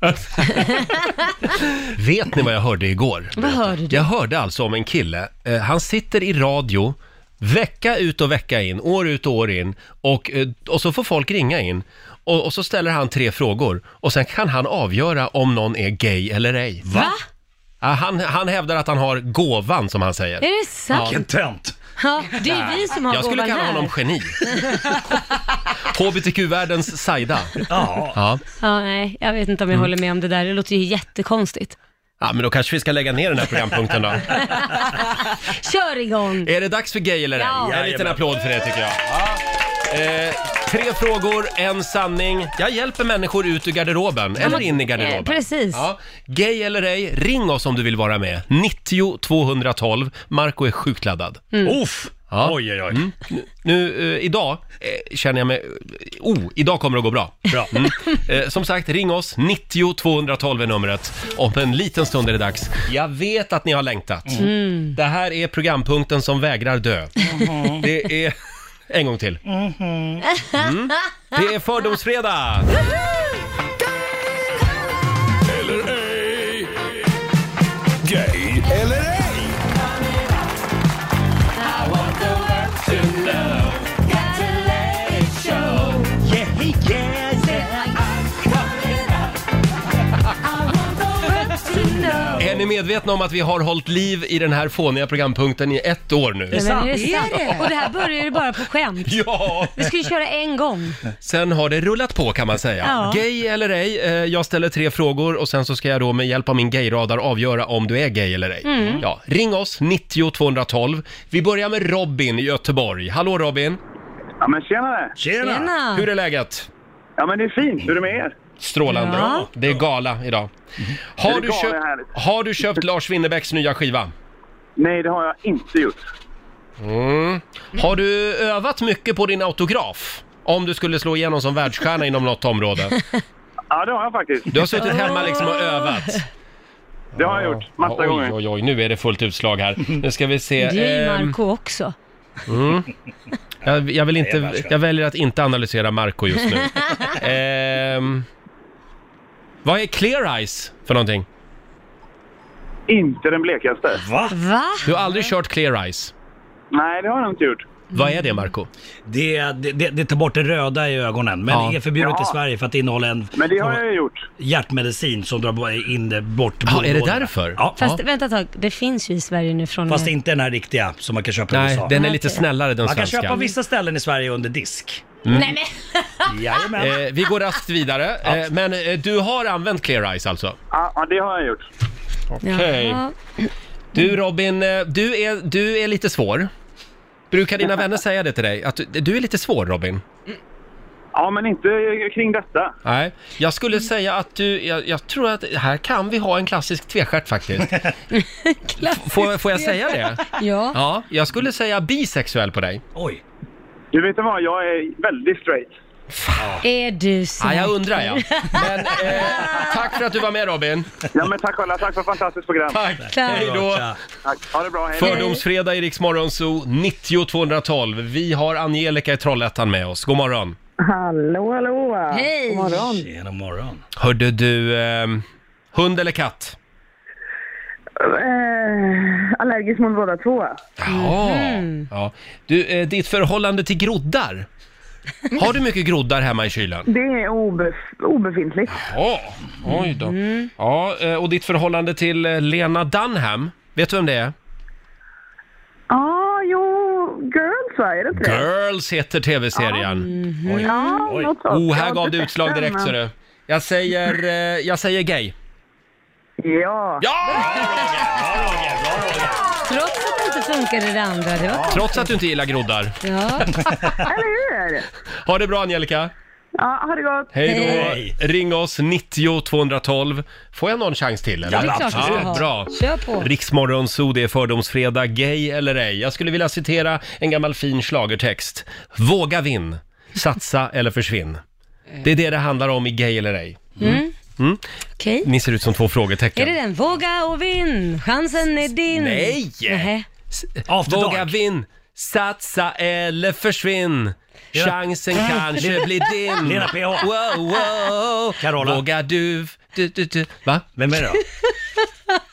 S1: Vet ni vad jag hörde igår?
S2: Vad hörde du?
S1: Jag hörde alltså om en kille, eh, han sitter i radio vecka ut och vecka in, år ut och år in och, eh, och så får folk ringa in och, och så ställer han tre frågor och sen kan han avgöra om någon är gay eller ej.
S2: Va?
S1: Ja, han, han hävdar att han har gåvan som han säger.
S2: Är det sant?
S6: Vilken tönt.
S2: Ja, det är ju vi som har
S1: Jag skulle
S2: gåvan
S1: kalla
S2: här.
S1: honom
S2: (laughs)
S1: geni. HBTQ-världens Saida.
S6: Ja.
S1: Ja.
S2: Ja, nej, jag vet inte om jag
S1: Mm.
S2: håller med om det där. Det låter ju jättekonstigt.
S1: ja, men då kanske vi ska lägga ner den här programpunkten då.
S2: Kör igång!
S1: Är det dags för gay eller ej?
S2: Ja.
S1: En liten
S6: Jajamän.
S1: applåd för det tycker jag. Eh, tre frågor, en sanning. Jag hjälper människor ut ur garderoben, eller in i garderoben.
S2: eh, precis.
S1: Ja. Gay eller ej, ring oss om du vill vara med. 90 212. Marco är sjukt laddad.
S2: Mm.
S6: Uff.
S1: Ja. Mm.
S6: Oj, oj, oj.
S1: Nu, eh, idag eh, känner jag mig... Oh, idag kommer det att gå bra.
S6: Bra.
S1: Eh, som sagt, ring oss. 90 212 är numret. Om en liten stund är det dags. Jag vet att ni har längtat. Det här är programpunkten som vägrar dö. Det är... (laughs) En gång till. Mm. Det är Fördomsfredag!
S8: Gay eller ej?
S1: Är ni medvetna om att vi har hållit liv i den här fåniga programpunkten i ett år nu?
S2: Nej, men är det sant? Och det här börjar ju bara på skämt.
S1: Ja!
S2: Vi ska ju köra en gång.
S1: Sen har det rullat på kan man säga.
S2: Ja.
S1: Gay eller ej, eh, jag ställer tre frågor och sen så ska jag då med hjälp av min gayradar avgöra om du är gay eller ej.
S2: Mm.
S1: Ja, ring oss, 90 212. Vi börjar med Robin i Göteborg. Hallå Robin,
S8: Ja, men tjenare!
S6: Tjena.
S2: Tjena!
S1: hur är läget?
S8: Ja, men det är fint. Hur är det med er?
S1: Strålande.
S2: Ja.
S1: Det är gala idag. Har
S8: Är
S1: du,
S8: det gala
S1: köpt,
S8: härligt?
S1: har du köpt Lars Winnerbäcks nya skiva?
S2: Mm.
S8: Nej, det har jag inte gjort.
S1: Har du övat mycket på din autograf? Om du skulle slå igenom som världsstjärna inom något område.
S8: Ja, det har jag faktiskt.
S1: Du har suttit hemma liksom och övat.
S8: Det har jag gjort massa
S1: oj,
S8: gånger.
S1: Oj, oj, nu är det fullt utslag
S6: (laughs)
S1: här. Nu ska vi se.
S2: Det är ju
S1: Ehm,
S2: Marco också.
S1: jag, jag, vill
S6: Nej, jag
S1: inte,
S6: värsta.
S1: jag väljer att inte analysera Marco just nu. Ehm, vad är clear eyes för någonting?
S8: Inte den blekaste.
S6: Va?
S2: Va?
S1: Du har aldrig kört clear eyes.
S8: Nej, det har jag inte gjort.
S1: Vad är det Marco?
S6: Det, det, det, det tar bort det röda i ögonen, men
S1: Ja.
S6: det är förbjudet i
S8: Ja.
S6: Sverige för att det innehåller en
S8: Men det har jag ju gjort.
S6: hjärtmedicin som drar bo- in det bort
S1: Ja, är det
S6: blodådrorna.
S1: därför?
S6: Ja.
S1: Ja.
S6: Fast,
S2: Fast vänta ett tag, det finns ju i Sverige nu från och med-
S6: inte den här riktiga som man kan köpa i
S1: Nej,
S6: USA.
S1: den är lite snällare den
S6: man kan köpa
S1: svenska.
S6: på vissa ställen i Sverige under disk.
S2: Mm. Nej men!
S6: Jajamän.
S1: Eh, vi går raskt vidare. Eh, men eh, du har använt clear eyes alltså?
S8: Ja, ja, det har jag gjort.
S1: Okej.
S2: Jaha.
S1: Du Robin, eh, du är, du är lite svår. Brukar dina vänner säga det till dig? Att du, du är lite svår Robin?
S8: Ja, men inte kring detta.
S1: Nej, jag skulle säga att du, jag, jag tror att här kan vi ha en klassisk tvestjärt faktiskt. får, får jag säga det?
S2: Ja.
S1: Ja, jag skulle säga bisexuell på dig.
S6: Oj.
S8: Du vet vad, jag är väldigt straight.
S2: Är du
S1: Ja, jag
S2: säker?
S1: undrar ja. Men eh, tack för att du var med Robin.
S8: Ja, men tack alla, tack för ett fantastiskt program.
S1: Tack. Hej då.
S6: Tja.
S8: Tack. Ha det bra, hej.
S1: Fördomsfredag i Rix Morgonzoo, 90 212. Vi har Angelica i Trollhättan med oss. God morgon.
S9: Hallå, hallå!
S2: Hej.
S9: God morgon!
S6: Tjena morgon.
S1: Hörde du, ehm, hund eller katt?
S9: Eh, allergisk mot båda två.
S1: Ja. ja. Du, eh, ditt förhållande till groddar? Har du mycket groddar hemma i kylen?
S9: Det är obef- obefintligt.
S1: Ja, oj då. Ja, eh, och ditt förhållande till eh, Lena Dunham, vet du vem det är?
S9: Ja, jo, girls va? Är det inte det?
S1: Girls heter tv-serien.
S9: Ja,
S6: Oj.
S9: något sånt.
S1: Oh,
S9: Jag har
S1: här gav
S9: inte
S1: du
S9: sett
S1: utslag
S9: den,
S1: direkt
S9: men-
S1: ser du. Jag säger, eh, jag säger gay.
S9: Ja.
S1: Ja!
S2: Trots att det inte funkade det andra. Det var
S1: Trots att du inte gillar groddar.
S2: Ja.
S9: eller hur?
S1: Ha det bra Angelica.
S9: Ja, ha det gott!
S1: Hej då.
S6: Hej.
S1: Ring oss 90 212. Får jag någon chans till eller?
S2: Ja, det är klart du ska
S1: Ja,
S2: ha.
S1: bra.
S2: Kör på.
S1: Riksmorgonzoo, det är fördomsfredag, gay eller ej. Jag skulle vilja citera en gammal fin schlagertext. Våga vinn, satsa (laughs) eller försvinn. Det är det det handlar om i gay eller ej.
S2: Okej.
S1: Ni ser ut som två
S2: Är
S1: frågetecken.
S2: det den? Våga och vinn, chansen är din.
S1: Nej!
S2: Nähä.
S6: After
S1: Våga
S6: dark.
S1: vinn, satsa eller försvinn.
S6: Lena-
S1: Chansen
S2: (laughs)
S1: kanske blir din.
S6: Lena PH.
S1: Wow, wow.
S6: Carola.
S1: Våga du, du, du, du. Va?
S6: Vem är det då?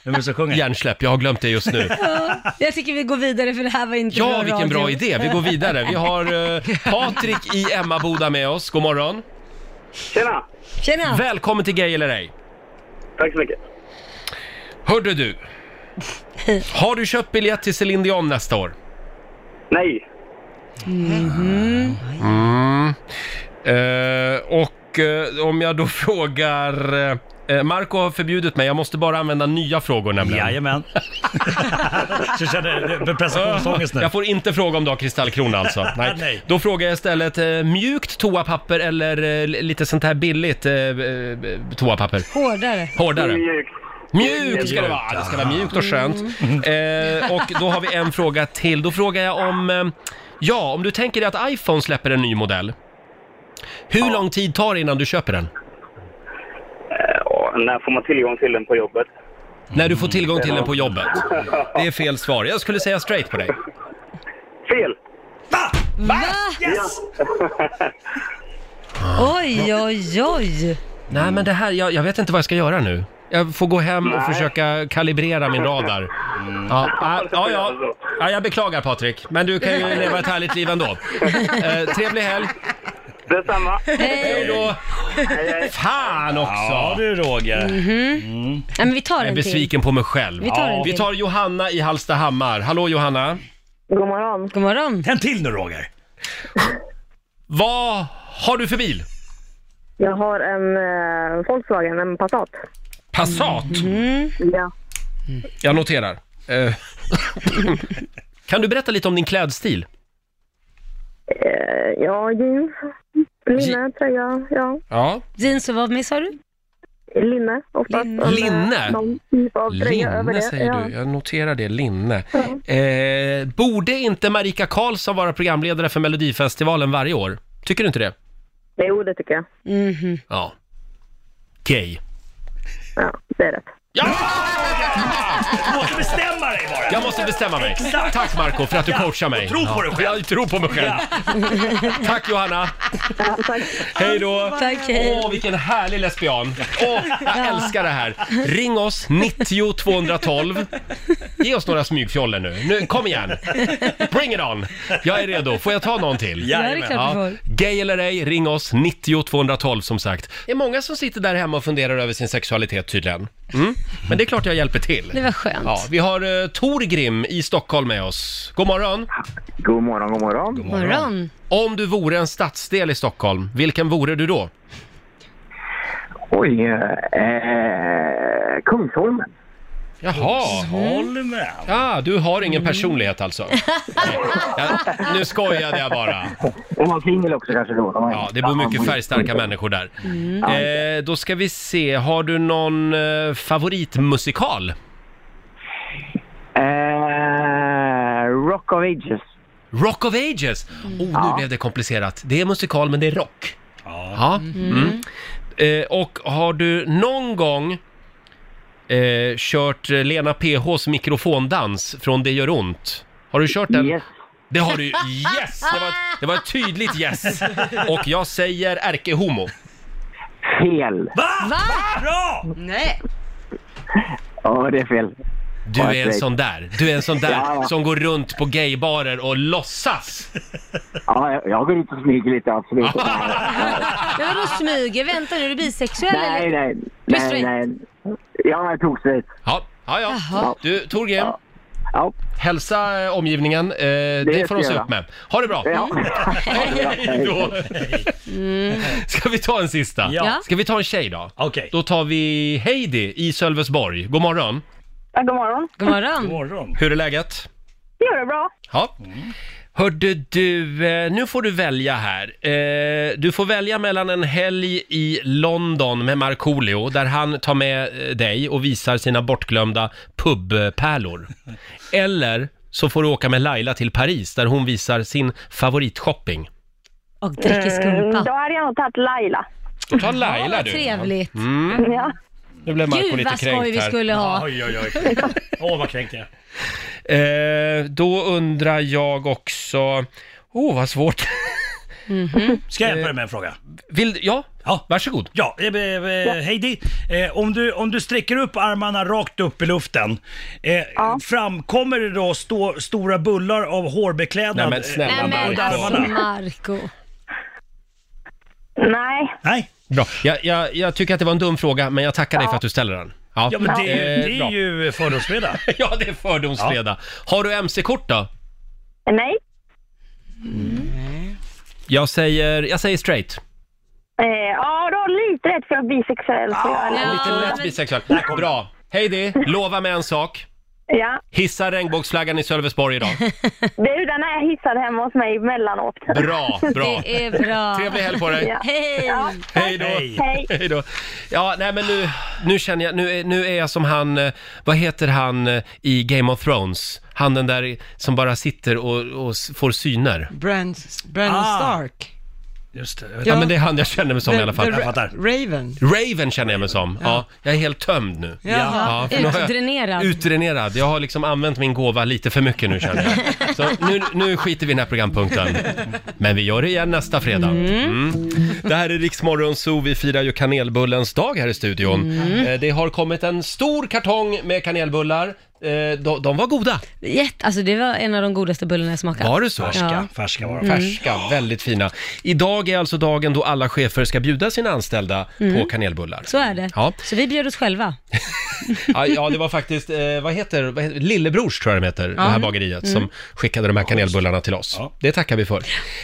S6: Vem är det som sjunger?
S1: Hjärnsläpp, jag har glömt det just nu.
S2: Jag tycker vi går vidare för det här var inte bra
S1: Ja, vilken bra
S2: radio.
S1: idé. Vi går vidare. Vi har eh, Patrik i Emmaboda med oss. God morgon.
S8: Tjena!
S2: Tjena!
S1: Välkommen till Gay eller ej.
S8: Tack så mycket.
S1: Hörde du, har du köpt biljett till Céline Dion nästa år?
S8: Nej,
S1: Eh, och eh, om jag då frågar... Eh, Marco har förbjudit mig, jag måste bara använda nya frågor nämligen.
S6: Jajamän. (laughs) Så känner du prestationsångest nu?
S1: Jag får inte fråga om du har kristallkrona alltså. Nej.
S6: Nej.
S1: Då frågar jag istället eh, mjukt toapapper eller eh, lite sånt här billigt eh, eh, toapapper?
S2: Hårdare.
S1: Hårdare.
S8: mjukt.
S1: Mjukt ska det vara! Ja, Det ska vara mjukt och skönt. Eh, och då har vi en fråga till. Då frågar jag om... Eh, ja, om du tänker dig att iPhone släpper en ny modell. Hur lång tid tar det innan du köper den?
S8: Ja, när får man tillgång till den på jobbet?
S1: När du får tillgång till den på jobbet? Det är fel svar. Jag skulle säga straight på dig.
S8: Fel!
S2: Oj, oj, oj.
S1: Nej, men det här... Jag, jag vet inte vad jag ska göra nu. Jag får gå hem och försöka kalibrera min radar. Ja, ja, ja, ja. ja, jag beklagar Patrik, men du kan ju leva ett härligt liv ändå. Eh, trevlig helg!
S8: Detsamma!
S1: Hej då! Fan också!
S6: Ja du Roger.
S2: Nej, men vi tar
S1: Jag är
S2: en till.
S1: besviken på mig själv.
S2: Vi tar en
S1: Vi
S2: till.
S1: tar Johanna i Hallstahammar. Hallå Johanna!
S9: God morgon!
S2: God morgon.
S6: En till nu Roger.
S1: Vad har du för bil?
S9: Jag har en eh, Volkswagen, en Passat.
S1: Passat?
S2: Mm.
S9: Ja.
S1: Jag noterar.
S2: (laughs)
S1: Eh, kan du berätta lite om din klädstil?
S9: Eh, ja, jeans, linne, tröja, ja.
S1: Ja.
S2: Jeans och vad mer sa du?
S9: Linne oftast.
S2: Linne.
S9: Eller
S1: Linne?
S9: Någon typ av tröja över
S1: Linne
S9: det.
S1: säger
S9: ja.
S1: du. Jag noterar det. Linne. Eh, borde inte Marika Karlsson vara programledare för Melodifestivalen varje år? Tycker du inte det?
S9: Jo, det tycker jag.
S1: Ja. Gay.
S9: Ja, det är rätt.
S6: Du måste bestämma dig bara.
S1: Jag måste bestämma mig.
S6: Exakt.
S1: Tack Marco för att du
S6: Ja,
S1: coachar mig.
S6: och tro på dig själv.
S1: Ja, Jag tror på mig själv. Tack Johanna. Hej då.
S2: Tack, hej.
S1: Åh, vilken härlig lesbian. Åh, jag älskar det här. Ring oss, 90 212. Ge oss några smygfjoller nu. nu. Kom igen. Bring it on. Jag är redo. Får jag ta någon till?
S2: Ja, det är klart du
S1: Ja,
S2: får.
S1: gay eller ej, ring oss 90 212 som sagt. Det är många som sitter där hemma och funderar över sin sexualitet tydligen. Mm. Men det är klart jag hjälper till.
S2: Det var skönt.
S1: Ja, vi har uh, Tor Grim i Stockholm med oss. God morgon!
S10: God morgon, god morgon.
S2: Morgon.
S1: Om du vore en stadsdel i Stockholm, vilken vore du då?
S10: Oj, eh, Kungsholmen.
S1: Jaha.
S2: Mm.
S6: Holmen.
S1: Ja, du har ingen personlighet alltså. Ja, nu skojade jag bara.
S10: Om man singel också kanske då.
S1: Ja, det bor mycket färgstarka människor där.
S10: Mm.
S1: Eh, då ska vi se, har du någon eh, favoritmusikal?
S10: Eh, Rock of Ages. Mm.
S1: Rock of Ages! Oh, nu
S10: Ja.
S1: blev det komplicerat. Det är musikal, men det är rock. Ja. Mm.
S7: Mm.
S1: Eh, och har du någon gång eh, kört eh, Lena PHs mikrofondans från Det gör ont? Har du kört den? Yes. Det har du ju. Yes! Det var, det var ett tydligt yes. Och jag säger ärkehomo.
S10: Fel.
S6: Va? Bra!
S2: Nej.
S10: Ja, det är fel.
S1: Du är en sån där. Du är en sån där
S10: Ja, ja.
S1: som går runt på gaybarer och låtsas.
S10: Ja, jag- jag går ut och smyger lite, absolut.
S2: Men vadå smyger? Vänta nu, är du bisexuell
S10: nej,
S2: eller?
S10: nej.
S2: Du
S10: Nej,
S2: är straight.
S10: nej. Ja, jag tog straight.
S1: Ja, ja, ja.
S10: Jaha.
S1: Du, Torgrim. Hälsa eh, omgivningen. Eh, det, får
S10: ska
S1: de se
S10: jag göra.
S1: upp med. Ha det bra!
S10: Ja.
S1: (laughs) Hej då! Ska vi ta en sista?
S7: Ja.
S1: Ska vi ta en tjej då?
S6: Okej.
S1: Då tar vi Heidi i Sölvesborg. God morgon.
S11: Ja, god morgon.
S2: God morgon.
S6: God morgon.
S1: Hur är läget?
S11: Jo, det är bra.
S1: Ja. Hörde du, eh, nu får du välja här. Eh, Du får välja mellan en helg i London med Markoolio där han tar med eh, dig och visar sina bortglömda
S2: (laughs)
S1: pubpärlor. Eller så får du åka med Laila till Paris där hon visar sin favoritshopping.
S2: Och dricker skumpa.
S11: Mm, då hade jag nog tagit Laila.
S1: Då tar Laila
S2: vad
S1: du.
S2: trevligt.
S1: Mm.
S11: Ja.
S1: Nu blev Marco
S2: Gud
S1: lite
S2: vad
S1: kränkt
S2: skoj vi
S1: här.
S2: skulle ha.
S6: Oj, oj, oj. Åh, vad kränkt jag är.
S1: Eh, då undrar jag också... Åh, oh, vad svårt.
S6: Ska jag hjälpa dig med en fråga?
S1: Vill, ja,
S6: ja,
S1: varsågod.
S6: Ja, eh, eh, eh, Heidi, eh, om, du, om du sträcker upp armarna rakt upp i luften, eh, framkommer det då stå, stora bullar av hårbeklädnad?
S1: Nej, men snälla,
S6: eh,
S2: Nej men
S6: runt
S2: alltså
S6: armarna?
S2: Marco.
S11: Nej.
S6: Nej.
S1: Bra. Jag, jag, jag tycker att det var en dum fråga, men jag tackar dig för att du ställer den.
S6: Ja, men det, är ju-
S1: Eh,
S6: det är
S1: bra.
S6: ju fördomsfredag.
S1: (laughs) ja, det är fördomsfredag. Har du MC-kort då?
S11: Nej.
S1: Mm. Jag säger, jag säger straight.
S11: Eh, ja, du har lite rätt för jag är bisexuell. Så jag är
S1: Lite lätt bisexuell. Bra. Heidi, lova med en sak.
S11: Ja,
S1: Hissa regnbågsflaggan i Sölvesborg idag.
S11: (laughs) det är ju den här jag hissade hemma hos mig emellanåt.
S1: Bra, bra.
S2: Det är bra.
S1: Trevlig helg på dig.
S11: Ja.
S2: Hej!
S11: Ja.
S1: Hej då!
S11: Hej.
S1: (laughs) Hej då! Ja, nej men nu, nu känner jag, nu, är- nu är jag som han, eh, vad heter han eh, i Game of Thrones? Han den där som bara sitter och, och s- får syner.
S3: Bran, Bran
S6: Ah.
S3: Stark.
S6: Just det.
S1: Ja. men det är han jag känner mig som i alla fall.
S6: Jag fattar.
S3: Raven.
S1: Raven känner jag mig som. Ja, jag är helt tömd nu.
S2: Jaha,
S1: för nu har jag-
S2: utdränerad.
S1: Utdränerad. Jag har liksom använt min gåva lite för mycket nu känner
S2: (laughs)
S1: jag. Så nu, nu skiter vi i den här programpunkten. Men vi gör det igen nästa fredag. Mm. Det här är Riksmorgon Zoo. Vi firar ju kanelbullens dag här i studion.
S2: Mm.
S1: Eh, Det har kommit en stor kartong med kanelbullar. Eh, De, de var goda.
S2: Jätte, alltså det var en av de godaste bullarna jag smakat.
S1: Var det så?
S2: Ja.
S6: Färska var de.
S2: Mm.
S1: Färska, väldigt fina. Idag är alltså dagen då alla chefer ska bjuda sina anställda
S2: Mm.
S1: på kanelbullar.
S2: Så är det.
S1: Ja.
S2: Så vi bjöd oss själva.
S1: Ja, ja, det var faktiskt, eh, vad, heter, vad heter Lillebrors tror jag de heter, det här
S2: Mm.
S1: bageriet
S2: Mm.
S1: som skickade de här kanelbullarna till oss. Det tackar vi för.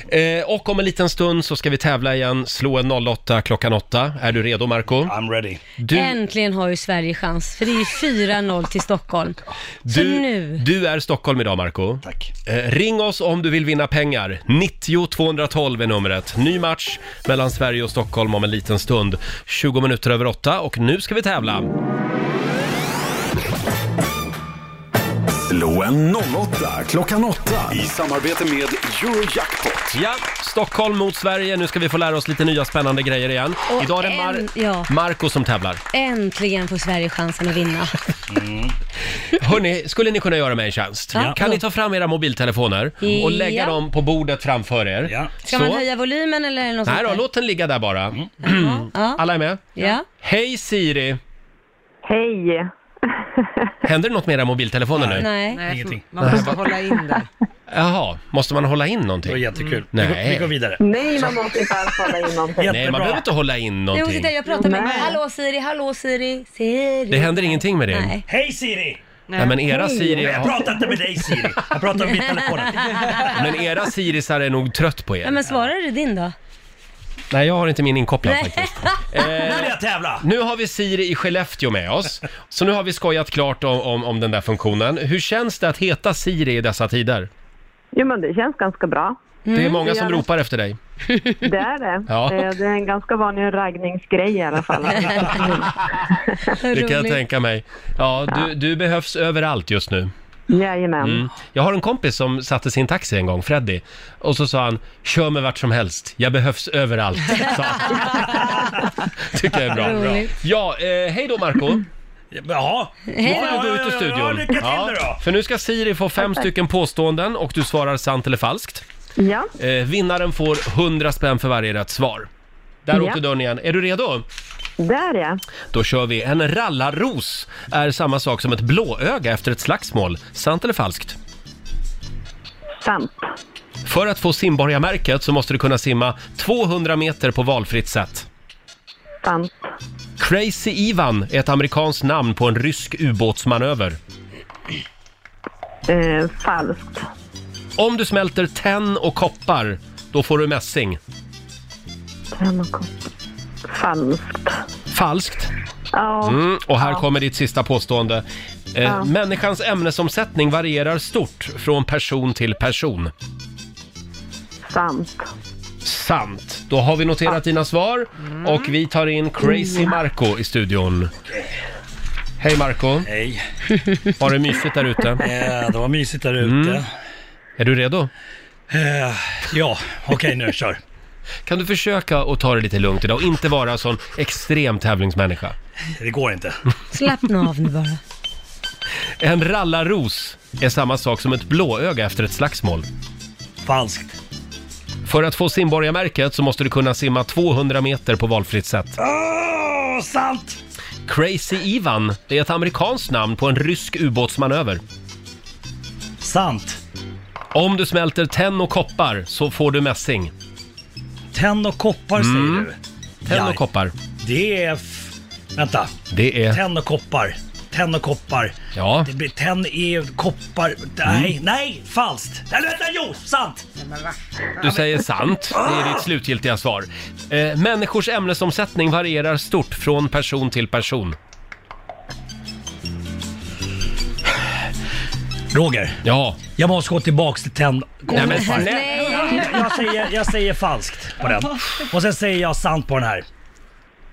S1: Eh, och om en liten stund så ska vi tävla igen, slå en 08 klockan 8. Är du redo Marco?
S6: I'm ready.
S1: Du,
S2: Äntligen har ju Sverige chans, för det är ju 4-0 till Stockholm. Så
S1: du,
S2: nu.
S1: du är Stockholm idag Marco.
S6: Tack.
S1: Eh, ring oss om du vill vinna pengar. 90 212 är numret. Ny match mellan Sverige och Stockholm om en liten stund. 20 minuter över 8 och nu ska vi tävla.
S12: Slå en 08 klockan 8 i samarbete med Eurojackpot.
S1: Ja, Stockholm mot Sverige. Nu ska vi få lära oss lite nya spännande grejer igen.
S2: Och
S1: Idag är det Mar-
S2: en- ja.
S1: Marco som tävlar.
S2: Äntligen får Sverige chansen att vinna.
S1: Hörni, skulle ni kunna göra mig en tjänst?
S2: Ja.
S1: Kan ni ta fram era mobiltelefoner
S2: Ja.
S1: och lägga dem på bordet framför er? Ja.
S2: Ska man höja volymen eller är det något
S1: Nej då,
S2: sånt där?
S1: låt den ligga där bara.
S2: Ja.
S1: Alla är med?
S2: Ja.
S1: Hej Siri!
S11: Hej.
S1: Händer det något med era mobiltelefoner nu?
S2: Nej.
S6: Ingenting.
S3: Man måste hålla in det.
S1: Jaha, måste man hålla in någonting?
S6: Det var jättekul.
S1: Nej.
S6: Vi, går, vi går vidare.
S11: Nej, man måste inte alls hålla in någonting.
S1: Nej, man behöver inte hålla in
S2: Jo,
S1: någonting.
S2: sitta, jag pratar med Hallå Siri, hallå Siri, Siri.
S1: Det händer ingenting med det.
S2: Nej.
S6: Hej Siri!
S1: Nej, men era Siri...
S6: Jag pratar inte med dig Siri. Jag pratar med min telefon.
S1: Men era Sirisar är nog trött på er.
S2: Ja, men svarar du din då?
S1: Nej, jag har inte min inkopplad faktiskt.
S13: Nu vill jag tävla!
S1: Nu har vi Siri i Skellefteå med oss. Så nu har vi skojat klart om, om, om den där funktionen. Hur känns det att heta Siri i dessa tider?
S9: Jo, men det känns ganska bra.
S1: det är många som
S9: gör
S1: ropar efter dig.
S9: det. Det är det.
S1: (laughs) Ja. Mm.
S9: Eh, Det är en ganska vanlig raggningsgrej i
S1: (laughs)
S9: alla fall.
S1: Det kan jag tänka mig. Ja, du, du behövs överallt just nu.
S9: Jajamän.
S1: Mm. Jag har en kompis som satte sin taxi en gång, Freddy, och så sa han “Kör mig vart som helst, jag behövs överallt”. (laughs) Sa han. Tycker jag är bra.
S13: Roligt.
S1: Ja, eh, hej då Marco
S13: Jaha.
S1: Nu får du gå ut
S13: Ja,
S1: ur studion.
S13: lycka till nu då!
S1: För nu ska Siri få fem
S13: Tack.
S1: stycken påståenden och du svarar sant eller falskt.
S9: Ja.
S1: Eh, vinnaren får 100 spänn för varje rätt svar. Där
S9: Ja.
S1: åkte dörren igen. Är du redo?
S9: (laughs) Där ja.
S1: Då kör vi. En rallarros är samma sak som ett blåöga efter ett slagsmål. Sant eller falskt?
S9: Sant.
S1: För att få simborgarmärket så måste du kunna simma 200 meter på valfritt sätt.
S9: Sant.
S1: Crazy Ivan är ett amerikanskt namn på en rysk ubåtsmanöver.
S9: Eh, falskt.
S1: Om du smälter tenn och koppar, då får du mässing.
S9: Falskt.
S1: Falskt.
S9: Ja.
S1: Mm, och här
S9: ja.
S1: kommer ditt sista påstående. Eh,
S9: Ja.
S1: Människans ämnesomsättning varierar stort från person till person.
S9: Sant.
S1: Sant. Då har vi noterat dina svar och vi tar in Crazy
S9: Mm.
S1: Marco i studion. Hej Marco.
S6: Hej.
S1: Var det mysigt där ute?
S6: (laughs) Ja, det var mysigt där ute.
S1: Mm. Är du redo?
S6: ja, okej nu kör.
S1: Kan du försöka att ta det lite lugnt idag och inte vara en sån extrem tävlingsmänniska?
S6: Det går inte.
S2: Slappna av
S1: (laughs)
S2: nu bara.
S1: En rallarros är samma sak som ett blåöga efter ett slagsmål.
S6: Falskt.
S1: För att få simborgarmärket så måste du kunna simma 200 meter på valfritt sätt.
S6: Åh, sant!
S1: Crazy Ivan är ett amerikanskt namn på en rysk ubåtsmanöver.
S6: Sant.
S1: Om du smälter tenn och koppar så får du mässing.
S6: Tenn och koppar säger
S1: Mm.
S6: du?
S1: Tenn och
S6: Ja.
S1: koppar.
S6: Det är... F... Vänta.
S1: Det är...
S6: Tenn och koppar. Tenn och koppar.
S1: Ja.
S6: Det blir tenn i koppar. Nej, nej, falskt. Eller vänta, jo, sant!
S1: Du säger sant. Det är ditt slutgiltiga svar. Eh, människors ämnesomsättning varierar stort från person till person.
S6: Roger.
S1: Ja.
S6: Jag måste gå tillbaks till tenn...
S1: Nej, men-
S6: koppar.
S1: Nej.
S6: Jag- Jag, säger, jag säger falskt på den. Och sen säger jag sant på den här.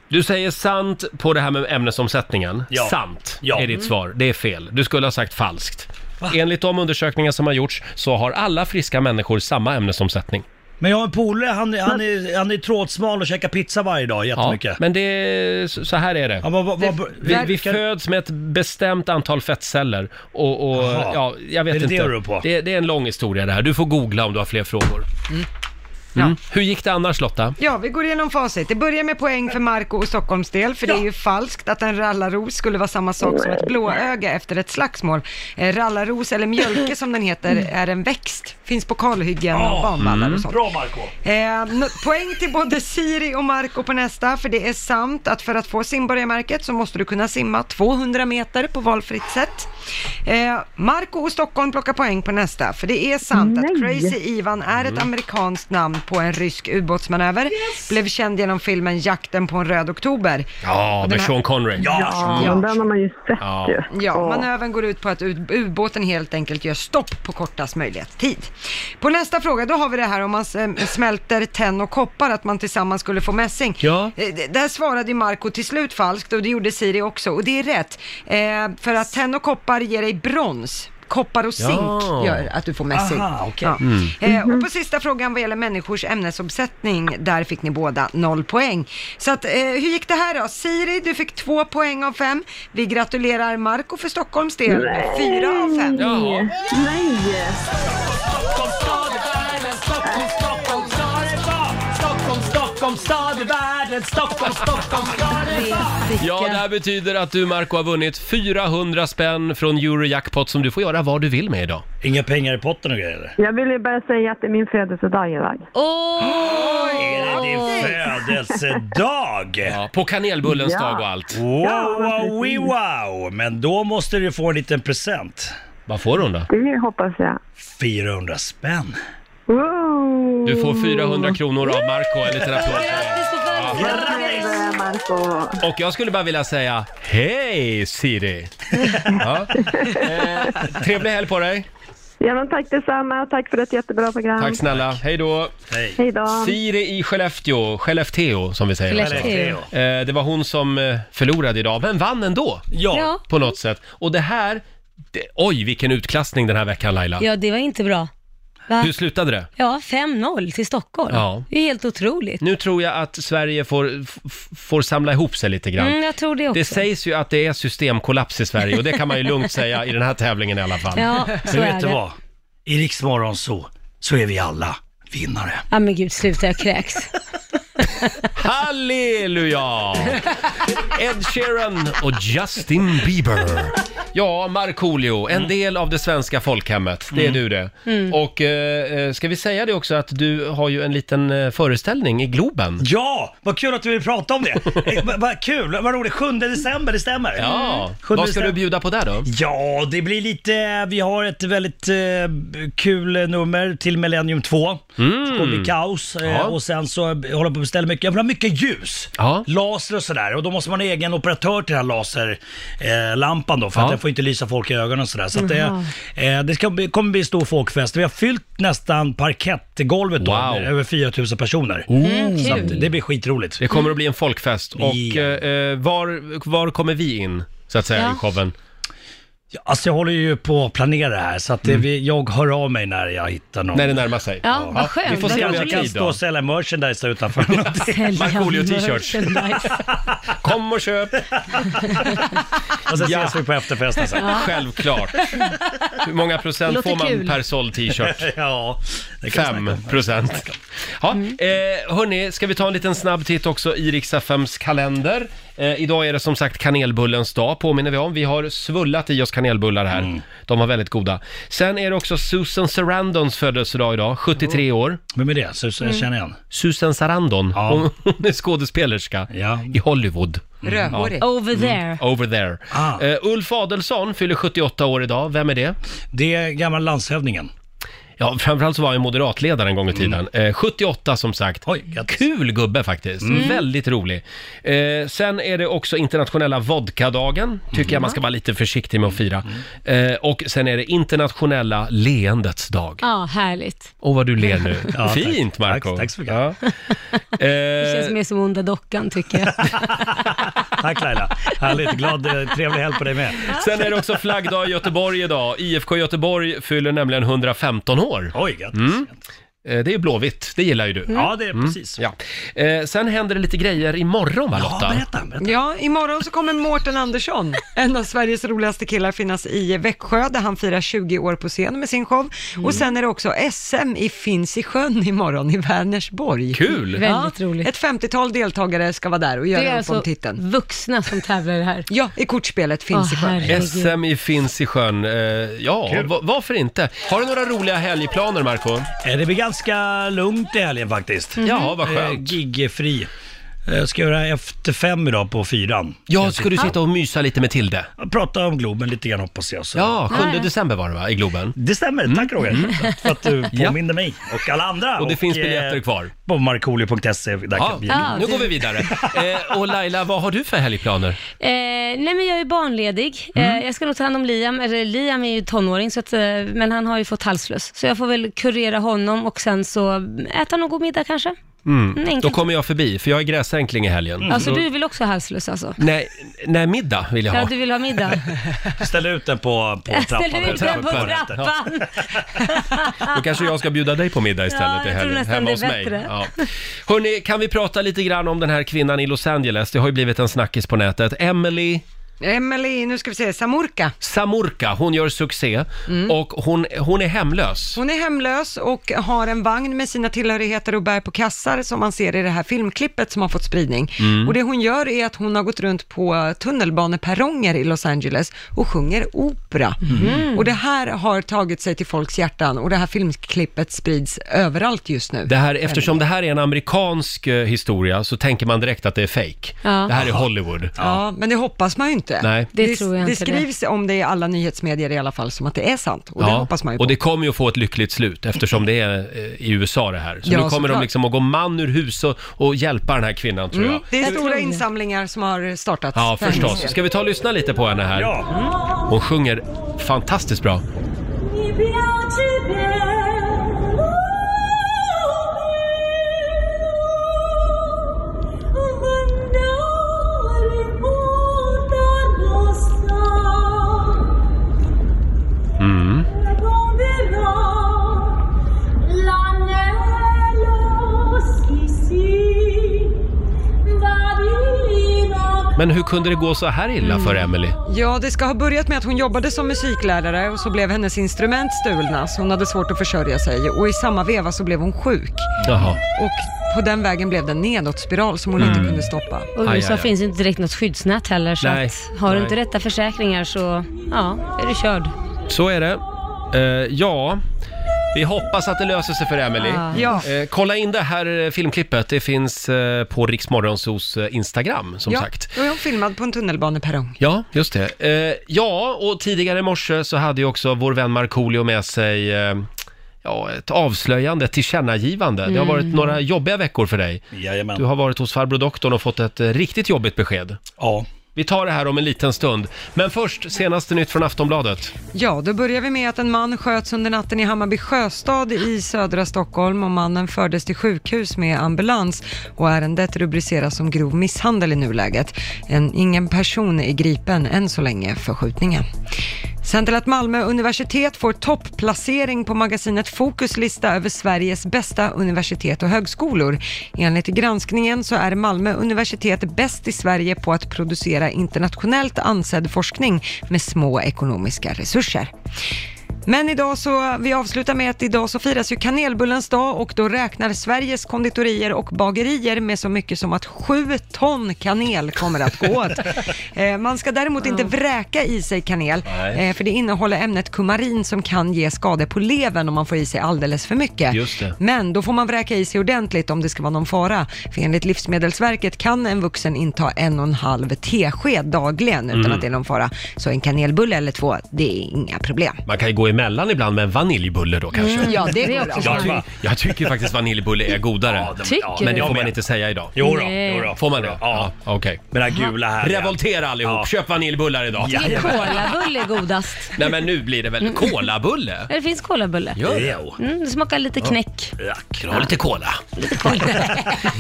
S1: Du säger sant på det här med ämnesomsättningen.
S6: Ja.
S1: Sant
S6: Ja.
S1: är ditt
S6: Mm.
S1: svar. Det är fel. Du skulle ha sagt falskt. Enligt de undersökningar som har gjorts så har alla friska människor samma ämnesomsättning.
S6: Men jag har en polare, han, han, är, han är trådsmal och käkar pizza varje dag jättemycket.
S1: Ja, men det, är- så så här är det. vi, vi föds med ett bestämt antal fettceller och, och
S6: Jaha.
S1: ja, jag vet
S6: Är det
S1: inte.
S6: det du rör på?
S1: Det, det är en lång historia det här. Du får googla om du har fler frågor. Mm. Hur gick det annars Lotta?
S3: Ja, vi går igenom facit. Det börjar med poäng för Marco och Stockholms del, för det är ju falskt att en rallarros skulle vara samma sak som ett blåöga efter ett slagsmål. Eh, Rallarros, eller mjölke som den heter,
S2: Mm.
S3: är en växt. Finns på kalhyggen och banvallar och sånt.
S6: Bra Marco
S3: Eh, no- poäng till både Siri och Marco på nästa, för det är sant att för att få simborgarmärket så måste du kunna simma 200 meter på valfritt sätt. Eh, Marco och Stockholm plockar poäng på nästa, för det är sant att Crazy Ivan är ett amerikanskt namn på en rysk ubåtsmanöver. Blev känd genom filmen Jakten på en röd oktober.
S1: Ja,
S3: Och den
S1: med
S3: här-
S1: Sean Connery.
S3: Ja,
S1: Mm.
S3: ja.
S9: Den har man ju sett
S1: Ja.
S9: ju.
S3: Ja, manövern går ut på att ut- ubåten helt enkelt gör stopp på kortast möjliga tid. På nästa fråga, då har vi det här om man s- eh, smälter tenn och koppar, att man tillsammans skulle få mässing.
S1: Ja.
S3: Eh, d- Där svarade ju Marco till slut falskt och det gjorde Siri också och det är rätt. Eh, för att tenn och koppar ger dig brons. Koppar och
S14: Ja.
S3: zink gör att du får mässing.
S14: Aha, okej.
S3: Ja.
S14: Mm.
S3: Eh, och
S2: Mhm.
S3: på sista frågan vad gäller människors ämnesomsättning, där fick ni båda noll poäng. Så att, eh, hur gick det här då? Siri, du fick två poäng av fem. Vi gratulerar Marco för Stockholms del, fyra av fem.
S1: Jaha.
S9: Nej!
S15: Stockholm stad i världen, Stockholm, Stockholm stad i världen.
S1: Ja, det här betyder att du Marco har vunnit 400 spänn från Eurojackpot som du får göra vad du vill med idag.
S6: Inga pengar i potten och grejer eller?
S9: Jag vill ju bara säga att det är min födelsedag idag.
S6: Är det din födelsedag?
S1: Ja, på kanelbullens Ja. dag och allt.
S6: Wow,
S9: Ja,
S6: wow, wee,
S9: precis.
S6: wow! Men då måste du få en liten present.
S1: Vad får hon då?
S9: Det hoppas jag.
S6: 400 spänn.
S1: Du får 400 kronor av Marco, en liten applåd. Och jag skulle bara vilja säga Hej Siri!
S3: (laughs)
S1: Ja. Eh, trevlig helg på dig!
S16: Ja, men tack detsamma. Tack för ett jättebra program.
S1: Tack snälla, hej då!
S16: Hej då.
S1: Siri i Skellefteå, Skellefteå som vi säger.
S16: Skellefteå.
S1: Eh, det var hon som eh, förlorade idag, men vann ändå!
S2: Ja. Ja.
S1: På något sätt. Och det här, det, oj vilken utklassning den här veckan Laila!
S2: Ja, det var inte bra. Va?
S1: Hur slutade det?
S2: Ja, 5-0 till Stockholm.
S1: Ja.
S2: Det är helt otroligt.
S1: Nu tror jag att Sverige får, f- får samla ihop sig lite grann.
S2: Mm, jag tror det också.
S1: Det sägs ju att det är systemkollaps i Sverige och det kan man ju lugnt säga i den här tävlingen i alla fall.
S2: Ja, så
S6: Men
S2: är
S6: vet du
S2: det.
S6: vad? I Riks så, så är vi alla vinnare.
S2: Ja men gud, sluta jag kräks.
S1: Halleluja! Ed Sheeran och Justin Bieber. Ja, Markoolio, en del av det svenska folkhemmet. Det är du det.
S7: Mm.
S1: Och eh, eh, ska vi säga det också att du har ju en liten eh, föreställning i Globen.
S6: Ja, vad kul att du vill prata om det.
S1: (laughs)
S6: Eh, Vad vad kul, vad roligt. 7 december, det stämmer. Mm.
S1: Ja,
S6: Sjunde
S1: vad ska
S6: december.
S1: du bjuda på där då?
S6: Ja, det blir lite, eh, vi har ett väldigt eh, kul eh, nummer till Millennium 2.
S1: Mm.
S6: Det kommer bli kaos eh,
S1: Ja.
S6: och sen så håller jag på att beställa mycket, jag vill ha mycket ljus. Laser och sådär och då måste man ha egen operatör till den här laserlampan eh, lampan då för
S1: Ja.
S6: att den får inte lysa folk i ögonen och sådär. Så att
S1: Jaha.
S6: det, eh, det ska bli, kommer bli stor folkfest. Vi har fyllt nästan parkettgolvet då,
S1: Wow.
S6: med över 4000 personer.
S1: Mm,
S6: så
S1: kul.
S6: att det blir skitroligt.
S1: Det kommer att bli en folkfest och eh, eh, var, var kommer vi in så att säga
S6: Ja.
S1: i showen?
S6: Ja, Alltså jag håller ju på att planera det här så att det, vi- jag hör av mig när jag hittar någon.
S1: Mm. När det närmar sig.
S2: Ja, vad skönt.
S6: Vi får
S2: Vad
S6: se om jag
S2: roligt.
S6: kan stå och sälja merchandise där
S1: (laughs)
S6: utanför. Markoolio
S2: (laughs)
S6: t-shirts.
S1: Kom och köp!
S6: (laughs) och sen ses vi på
S1: (laughs)
S6: efterfesten sen.
S1: Ja. Självklart. Hur många procent
S6: Låter
S1: får man
S6: kul.
S1: per såld t-shirt?
S6: ja, kan vi snacka
S1: Fem
S6: om.
S1: procent. Ja,
S6: Mm.
S1: eh, hörni, ska vi ta en liten snabb titt också i riks kalender? Eh, idag är det som sagt kanelbullens dag, påminner vi om. Vi har svullat i oss kanelbullar här.
S6: Mm.
S1: De var väldigt goda. Sen är det också Susan Sarandons födelsedag idag, 73
S6: Oh.
S1: år.
S6: Vem är det? Susan,
S1: Mm.
S6: jag känner igen.
S1: Susan Sarandon. Hon, hon är skådespelerska i Hollywood.
S2: Rödhårig.
S1: Ja.
S2: Over there.
S1: Over there.
S6: Ah.
S1: Eh, Ulf Adelsohn fyller 78 år idag. Vem är det?
S6: Det är gamla landshövdingen.
S1: Ja, framförallt så var han ju moderatledare en gång i tiden. Eh, 78 som sagt. Kul gubbe faktiskt.
S7: Mm.
S1: Väldigt rolig. Eh, sen är det också internationella vodkadagen. Tycker jag man ska vara lite försiktig med att fira. Eh, och sen är det internationella leendets dag.
S2: Ja, härligt.
S1: Åh, vad du ler nu.
S6: Ja, tack.
S1: Fint, Marco Tack, så mycket. Ja.
S2: Det
S1: Eh,
S2: känns mer som onda dockan tycker jag.
S6: Tack Laila. Härligt. Glad, eh, trevlig helg på dig med.
S1: Sen är det också flaggdag i Göteborg idag. IFK Göteborg fyller nämligen 115 år.
S6: Oj, grattis.
S1: Eh, Det är blåvitt, det gillar ju du.
S6: Mm. Ja, det är precis.
S1: Ja. Eh, Sen händer det lite grejer imorgon va Lotta?
S3: Ja, imorgon så kommer
S2: (laughs)
S3: Mårten Andersson, en av Sveriges roligaste killar, finnas i Växjö där han firar 20 år på scen med sin show.
S2: Mm.
S3: Och sen är det också SM i Finns i sjön imorgon i Vänersborg.
S1: Kul!
S2: Väldigt roligt.
S3: Ett 50-tal deltagare ska vara där och
S2: Det
S3: göra
S2: är
S3: upp om
S2: alltså
S3: titeln.
S2: vuxna som tävlar i det här.
S3: Ja, i kortspelet Finns i
S2: Åh,
S3: sjön.
S2: herregud.
S1: SM i Finns i sjön. Eh, Ja,
S6: Kul.
S1: va- varför inte? Har du några roliga helgplaner Marco?
S6: Eh, Det blir ganska lugnt i helgen faktiskt.
S1: Mhm. Jaha, vad skönt.
S6: Eh, Gigfri. Eh, Jag ska göra efter fem idag på fyran.
S1: Ja, ska du sitta och mysa lite med Tilde?
S6: Prata om Globen lite grann hoppas jag. Så.
S1: Ja, 7
S6: Ja, ja.
S1: december var det va, i Globen?
S6: Det stämmer, tack Roger. För att du
S1: Mm. (laughs) Ja.
S6: påminner mig och alla andra.
S1: Och det
S2: eh,
S1: finns biljetter
S6: kvar. På markoolio.se. där
S1: Ja, Ah.
S6: kan vi-
S2: Ja,
S1: nu
S2: du-
S1: går vi
S2: (laughs)
S1: vidare. Eh, Och Laila, vad har du för helgplaner?
S2: Eh, nej men jag är barnledig. Eh, jag ska nog ta hand om Liam, eller Liam är ju tonåring, så att, eh, men han har ju fått halsfluss. Så jag får väl kurera honom och sen så äta någon god middag kanske. Mm,
S1: Då
S2: enkelt.
S1: kommer jag förbi, för jag är gräsänkling i helgen.
S2: Alltså
S1: Mm. Så-
S2: du vill också ha halsfluss alltså?
S1: Nej, nej, middag vill jag ha.
S2: Ja, du vill ha middag.
S6: Ställ ut den på, på
S2: Jag
S6: trappan.
S2: ställer ut den på trappan.
S1: Då kanske jag ska bjuda dig på middag istället
S2: Ja,
S1: i
S2: jag tror
S1: helgen,
S2: nästan
S1: hemma
S2: det är
S1: hos mig.
S2: bättre.
S1: Ja. Hörni, kan vi prata lite grann om den här kvinnan i Los Angeles? Det har ju blivit en snackis på nätet. Emily
S3: Emily, nu ska vi se, Samurka.
S1: Samurka, hon gör succé och hon, hon är hemlös.
S3: Hon är hemlös och har en vagn med sina tillhörigheter och bär på kassar som man ser i det här filmklippet som har fått spridning.
S1: Mm.
S3: Och det hon gör är att hon har gått runt på tunnelbaneperronger i Los Angeles och sjunger opera.
S1: Mm.
S3: Och det här har tagit sig till folks hjärtan och det här filmklippet sprids överallt just nu.
S1: Det här, eftersom det här är en amerikansk eh, historia så tänker man direkt att det är fake.
S3: Ja.
S1: Det här är Hollywood.
S3: Ja, men det hoppas man ju inte. det.
S1: Nej. Det
S2: tror jag
S3: det
S2: inte det.
S3: skrivs om det i alla nyhetsmedier i alla fall som att det är sant. Och det hoppas man ju på.
S1: och det kommer ju att få ett lyckligt slut eftersom det är eh, i USA det här. Så nu
S3: Ja,
S1: kommer de
S3: såklart.
S1: liksom att gå man ur hus och, och hjälpa den här kvinnan tror
S3: Mm,
S1: jag.
S3: det är stora insamlingar som har startat.
S1: Ja, förstås. Ska vi ta och lyssna lite på henne här?
S3: Ja.
S1: Hon sjunger fantastiskt bra. Mm. Men hur kunde det gå så här illa för
S3: Mm.
S1: Emily?
S3: Ja, det ska ha börjat med att hon jobbade som musiklärare och så blev hennes instrument stulna så hon hade svårt att försörja sig och i samma veva så blev hon sjuk.
S1: Jaha.
S3: Och på den vägen blev det en nedåtspiral som hon inte kunde stoppa.
S2: Och i USA finns ju inte direkt något skyddsnät heller, så
S1: Nej,
S2: att har
S1: nej.
S2: du inte rätta försäkringar så, ja, är du körd.
S3: Mm.
S1: Så är det. Eh, ja, vi hoppas att det löser sig för Emily.
S2: Ah. Ja.
S1: Eh, kolla in det här eh, filmklippet. Det finns eh, på Riksmorgonsos eh, Instagram, som
S3: ja,
S1: sagt.
S3: Då är hon filmad på en tunnelbaneperrong.
S1: Ja, just det. Eh, ja, och tidigare i morse så hade ju också vår vän Markoolio med sig eh, ja, ett avslöjande, ett tillkännagivande. Det har varit
S6: Mm.
S1: några jobbiga veckor för dig.
S6: Jajamän.
S1: Du har varit hos farbror doktorn och fått ett eh, riktigt jobbigt besked.
S6: Ja.
S1: Vi tar det här om en liten stund. Men först, senaste nytt från Aftonbladet.
S3: Ja, då börjar vi med att en man sköts under natten i Hammarby sjöstad i södra Stockholm och mannen fördes till sjukhus med ambulans och ärendet rubriceras som grov misshandel i nuläget. En, ingen person är gripen än så länge för skjutningen. Sen till att Malmö universitet får toppplacering på magasinet Fokus lista över Sveriges bästa universitet och högskolor. Enligt granskningen så är Malmö universitet bäst i Sverige på att producera internationellt ansedd forskning med små ekonomiska resurser. Men idag så, vi avslutar med att idag så firas ju kanelbullens dag och då räknar Sveriges konditorier och bagerier med så mycket som att sju ton kanel kommer att gå
S17: (laughs)
S3: åt. Eh, Man ska däremot inte vräka i sig kanel,
S17: Nej.
S3: eh, för det innehåller ämnet kumarin som kan ge skador på levern om man får i sig alldeles för mycket.
S17: Just det.
S3: Men då får man vräka i sig ordentligt om det ska vara någon fara. För enligt Livsmedelsverket kan en vuxen inta en och en halv tesked dagligen utan
S1: Mm.
S3: att det är någon fara. Så en kanelbulle eller två, det är inga problem.
S1: Man kan ju gå emellan ibland med en vaniljbulle då kanske.
S3: Mm, ja, det är
S1: jag,
S3: också
S1: ty-
S3: sant.
S1: (laughs) jag tycker faktiskt vaniljbulle är godare.
S6: Tycker
S1: men det
S6: du?
S1: får man inte säga idag.
S6: Jo då, jo då.
S1: Får man det? Ja. Okej.
S6: Med den här gula här, ja.
S1: Revoltera allihop,
S6: Ja.
S1: köp vaniljbullar idag.
S2: Det är kolabulle är godast.
S1: Nej men nu blir det väl kolabulle?
S2: Ja, Det finns kolabulle.
S1: Gör det?
S2: Mm, det smakar lite
S1: Ja.
S2: knäck.
S1: Dra lite cola.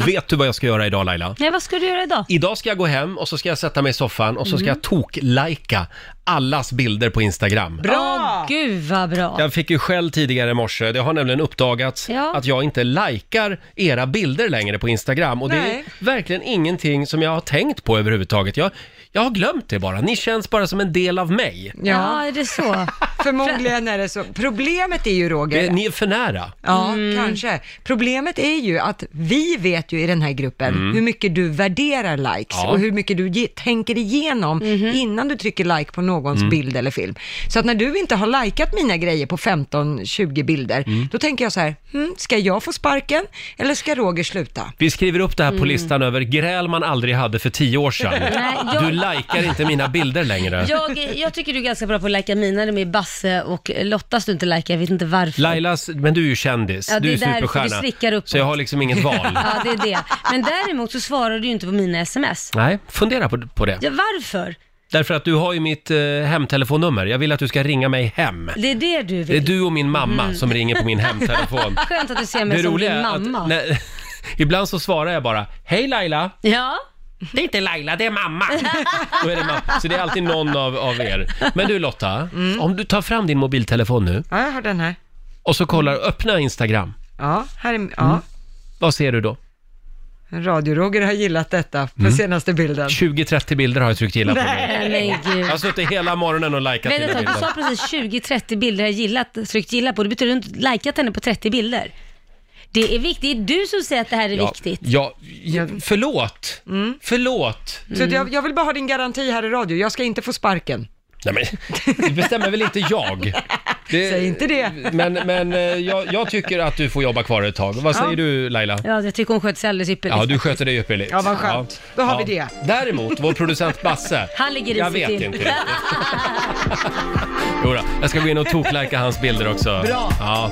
S1: (laughs) Vet du vad jag ska göra idag Laila?
S2: Nej, vad ska du göra idag?
S1: Idag ska jag gå hem och så ska jag sätta mig i soffan och så ska
S2: Mm.
S1: jag tok-lika allas bilder på Instagram.
S2: Bra! Gud vad bra.
S1: Jag fick ju skäll tidigare i morse. Det har nämligen uppdagats
S2: Ja.
S1: att jag inte likar era bilder längre på Instagram. Och det
S2: Nej.
S1: är verkligen ingenting som jag har tänkt på överhuvudtaget. Jag, jag har glömt det bara. Ni känns bara som en del av mig.
S3: Ja,
S2: är det så?
S3: Förmodligen är det så. Problemet är ju Roger.
S1: Det- Ni är för nära.
S3: Ja, kanske. Problemet är ju att vi vet ju i den här gruppen
S1: Mm.
S3: hur mycket du värderar likes
S1: Ja.
S3: och hur mycket du ge- tänker igenom innan du trycker like på någons
S17: Mm.
S3: bild eller film. Så att när du inte har likat mina grejer på 15-20 bilder,
S1: Mm.
S3: då tänker jag så här, hm, ska jag få sparken eller ska Roger sluta?
S1: Vi skriver upp det här på
S3: Mm.
S1: listan över gräl man aldrig hade för tio år sedan.
S2: Nej, jag-
S1: Du likar inte mina bilder längre.
S2: Jag, jag tycker du är ganska bra på att lajka mina, det är med Basse och Lottas du inte lajkar, jag vet inte varför.
S1: Lailas, men du är ju kändis.
S2: Ja, det
S1: du är ju
S2: är därför
S1: superstjärna.
S2: du slickar uppåt.
S1: så jag har liksom inget
S2: (laughs)
S1: val.
S2: Ja, det är det. Men däremot så svarar du ju inte på mina sms.
S1: Nej, fundera på, på det.
S2: Ja, varför?
S1: Därför att du har ju mitt eh, hemtelefonnummer. Jag vill att du ska ringa mig hem.
S2: Det är det du vill.
S1: Det är du och min mamma som ringer på min (laughs) hemtelefon.
S2: Skönt att du ser mig
S1: Det
S2: som
S1: roliga
S2: din
S1: är att-
S2: mamma.
S1: nej, (laughs) ibland så svarar jag bara, hej Laila!
S2: Ja.
S1: Det är inte Laila, det är (laughs) mamma. Då är det mamma. Så det är alltid någon av, av er. Men du Lotta, om du tar fram din mobiltelefon nu
S3: Ja, jag har den här.
S1: och så kollar, öppna Instagram.
S3: Ja, här är, ja.
S1: Vad ser du då? Mm.
S3: Radio-Roger har gillat detta på senaste bilden.
S1: 20-30 bilder har jag tryckt gilla på nu.
S2: Nej, men
S1: Jag
S2: gud.
S1: har suttit hela morgonen och likat
S2: Vänta
S1: dina
S2: ett tag, du
S1: bilder.
S2: sa precis 20-30 bilder jag gillat, tryckt gilla på. Det betyder att du inte likat henne på 30 bilder. Det är viktigt, det är du som säger att det här är
S1: Ja,
S2: viktigt.
S1: ja, Mm. förlåt. Förlåt.
S3: Så att jag, jag
S1: (laughs)
S3: vill bara ha din garanti här i radio, jag ska inte få sparken.
S1: Nej men, det bestämmer väl inte jag? Säg inte det. Men, men eh, jag, jag tycker att du får jobba kvar ett tag. Vad säger
S2: Ja.
S1: du Laila?
S2: Ja, jag tycker hon sköter sig alldeles ypperligt.
S1: Ja, du sköter dig ypperligt.
S2: Ja, vad skönt.
S1: Ja.
S2: Då har
S1: Ja.
S2: vi det.
S1: Däremot, vår producent Basse.
S2: (laughs) Han ligger
S1: Jag
S2: risigt
S1: vet
S2: till.
S1: inte
S2: (laughs)
S1: riktigt. Jodå, jag ska gå in och toklajka hans bilder också.
S7: Bra.
S1: Ja.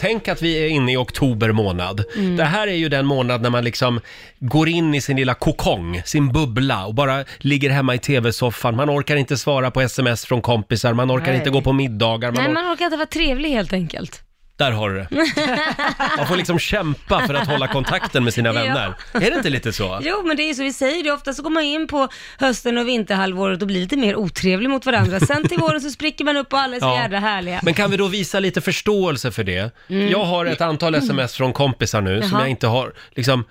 S1: Tänk att vi är inne i oktober månad.
S7: Mm.
S1: Det här är ju den månad när man liksom går in i sin lilla kokong, sin bubbla och bara ligger hemma i tv-soffan. Man orkar inte svara på sms från kompisar, man orkar
S2: Nej.
S1: inte gå på middagar. Man
S2: Nej,
S1: or-
S2: man orkar inte vara trevlig helt enkelt.
S1: Där har du
S2: (laughs)
S1: det. Man får liksom kämpa för att hålla kontakten med sina
S2: Ja.
S1: vänner. Är det inte lite så?
S2: Jo, men det är så vi säger det. Ofta så går man in på hösten och vinterhalvåret och blir lite mer otrevlig mot varandra. Sen till våren så spricker man upp och alla är så
S1: Ja.
S2: jädra härliga.
S1: Men kan vi då visa lite förståelse för det?
S2: Mm.
S1: Jag har ett antal sms från kompisar nu som
S2: Jaha.
S1: jag inte har, liksom,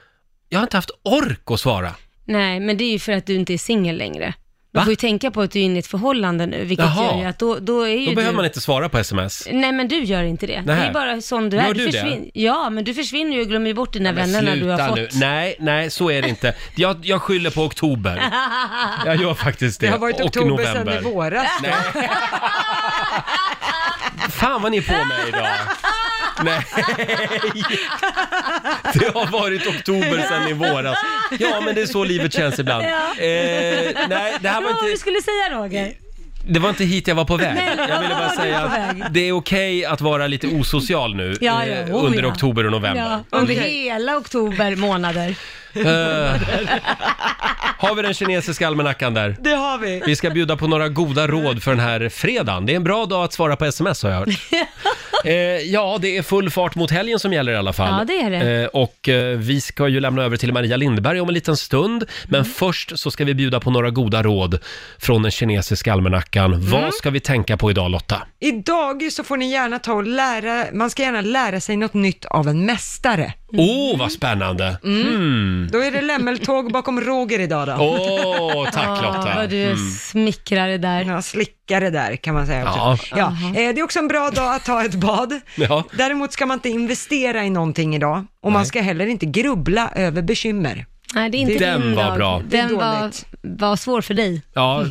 S1: jag har inte haft ork att svara.
S2: Nej, men det är ju för att du inte är singel längre. Du får ju tänka på att du är inne i ett förhållande nu, vilket
S1: Jaha.
S2: gör ju att då, då är ju
S1: Då behöver
S2: du...
S1: man inte svara på sms.
S2: Nej, men du gör inte det.
S1: Nej.
S2: Det är bara sån du är.
S1: Gör du det?
S2: försvin- Ja, men du försvinner ju och glömmer ju bort dina vänner när du har
S1: Sluta
S2: fått.
S1: nu. Nej, nej, så är det inte. Jag, jag skyller på
S2: (laughs)
S1: oktober. Jag gör faktiskt det.
S3: Det har varit
S1: Och
S3: oktober sedan
S1: november.
S3: i våras.
S1: Fan vad ni är på mig idag. Nej, det har varit oktober sedan i våras. Ja, men det är så livet känns ibland.
S2: Ja.
S1: Eh, nej, det här var
S2: Vad
S1: inte...
S2: var du skulle säga Roger?
S1: Det var inte hit jag var på väg.
S2: Nej,
S1: Jag ville bara
S2: vart var du
S1: säga
S2: på
S1: att
S2: väg?
S1: det är okej att vara lite osocial nu
S2: Ja,
S1: eh,
S2: ja, oh,
S1: under
S2: ja.
S1: oktober och november.
S2: Ja, under hela oktober månader.
S1: Eh, har vi den kinesiska almanackan där?
S3: Det har vi.
S1: Vi ska bjuda på några goda råd för den här fredagen. Det är en bra dag att svara på sms har jag
S2: (laughs)
S1: hört. Eh, ja, det är full fart mot helgen som gäller i alla fall.
S2: Ja, det är det.
S1: Eh, och eh, vi ska ju lämna över till Maria Lindberg om en liten stund. Men
S2: Mm.
S1: först så ska vi bjuda på några goda råd från den kinesiska almanackan.
S2: Mm.
S1: Vad ska vi tänka på idag Lotta?
S3: I dagis så får ni gärna ta och lära, man ska gärna lära sig något nytt av en mästare.
S1: Åh, oh, vad spännande! Mm.
S3: Då är det lämmeltåg bakom Roger idag då.
S1: Åh,
S2: tack, Lotta. vad du är Mm.
S3: smickrare där. Ja, slickare där kan man säga också.
S2: Ja.
S3: Ja.
S2: Aha.
S3: Eh, Det är också en bra dag att ta ett bad.
S1: Ja.
S3: Däremot ska man inte investera i någonting idag och man ska heller inte grubbla över bekymmer.
S2: Nej, det är inte
S3: Den
S2: din
S3: var
S2: dag.
S3: bra. Det är
S2: Den var, var svår för dig.
S1: Ja,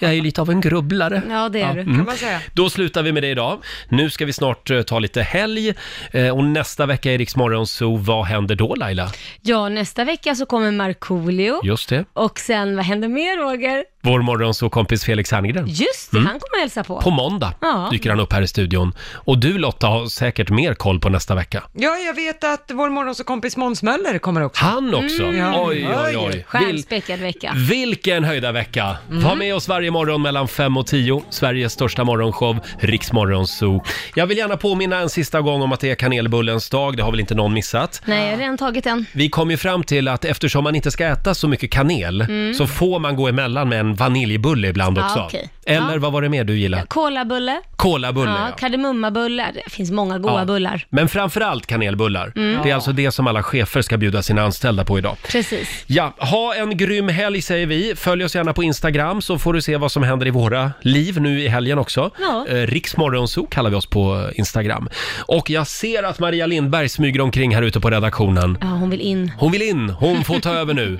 S1: jag är ju lite av en grubblare.
S2: Ja, det är du.
S1: mm. Då slutar vi med det idag. Nu ska vi snart eh, ta lite helg eh, och nästa vecka i Rix Morgon Zoo, vad händer då Laila?
S2: Ja, nästa vecka så kommer Markoolio.
S1: Just det,
S2: Och sen, vad händer mer Roger?
S1: vår morgonzoo-kompis Felix Herngren.
S2: Just det,
S1: Mm.
S2: han kommer hälsa på.
S1: På måndag
S2: Ja.
S1: dyker han upp här i studion. Och du Lotta har säkert mer koll på nästa vecka.
S3: Ja, jag vet att vår morgonsåkompis Måns Möller kommer också.
S1: Han också?
S3: Ja.
S1: Oj, oj, oj. Vil-
S2: Stjärnspäckad vecka.
S1: vilken höjda vecka! Var med oss varje morgon mellan 5 och 10. Sveriges största morgonshow, Rix Morgon Zoo. Jag vill gärna påminna en sista gång om att det är kanelbullens dag. Det har väl inte någon missat?
S2: Nej, jag har redan tagit en.
S1: Vi kom ju fram till att eftersom man inte ska äta så mycket kanel
S2: Mm.
S1: så får man gå emellan med en vaniljbulle ibland
S2: Ja,
S1: också.
S2: okej.
S1: Eller
S2: Ja.
S1: vad var det mer du gillade?
S2: Kolabulle.
S1: Kolabulle,
S2: ja.
S1: ja.
S2: Kardemummabullar. Det finns många goda
S1: Ja.
S2: bullar.
S1: Men framförallt kanelbullar.
S2: Mm.
S1: Det är alltså det som alla chefer ska bjuda sina anställda på idag.
S2: Precis.
S1: Ja, ha en grym helg säger vi. Följ oss gärna på Instagram så får du se vad som händer i våra liv nu i helgen också.
S2: Ja.
S1: Eh, Riksmorgonzoo kallar vi oss på Instagram. Och jag ser att Maria Lindberg smyger omkring här ute på redaktionen.
S2: Ja, hon vill in. (laughs)
S1: Hon vill in, hon får ta över nu.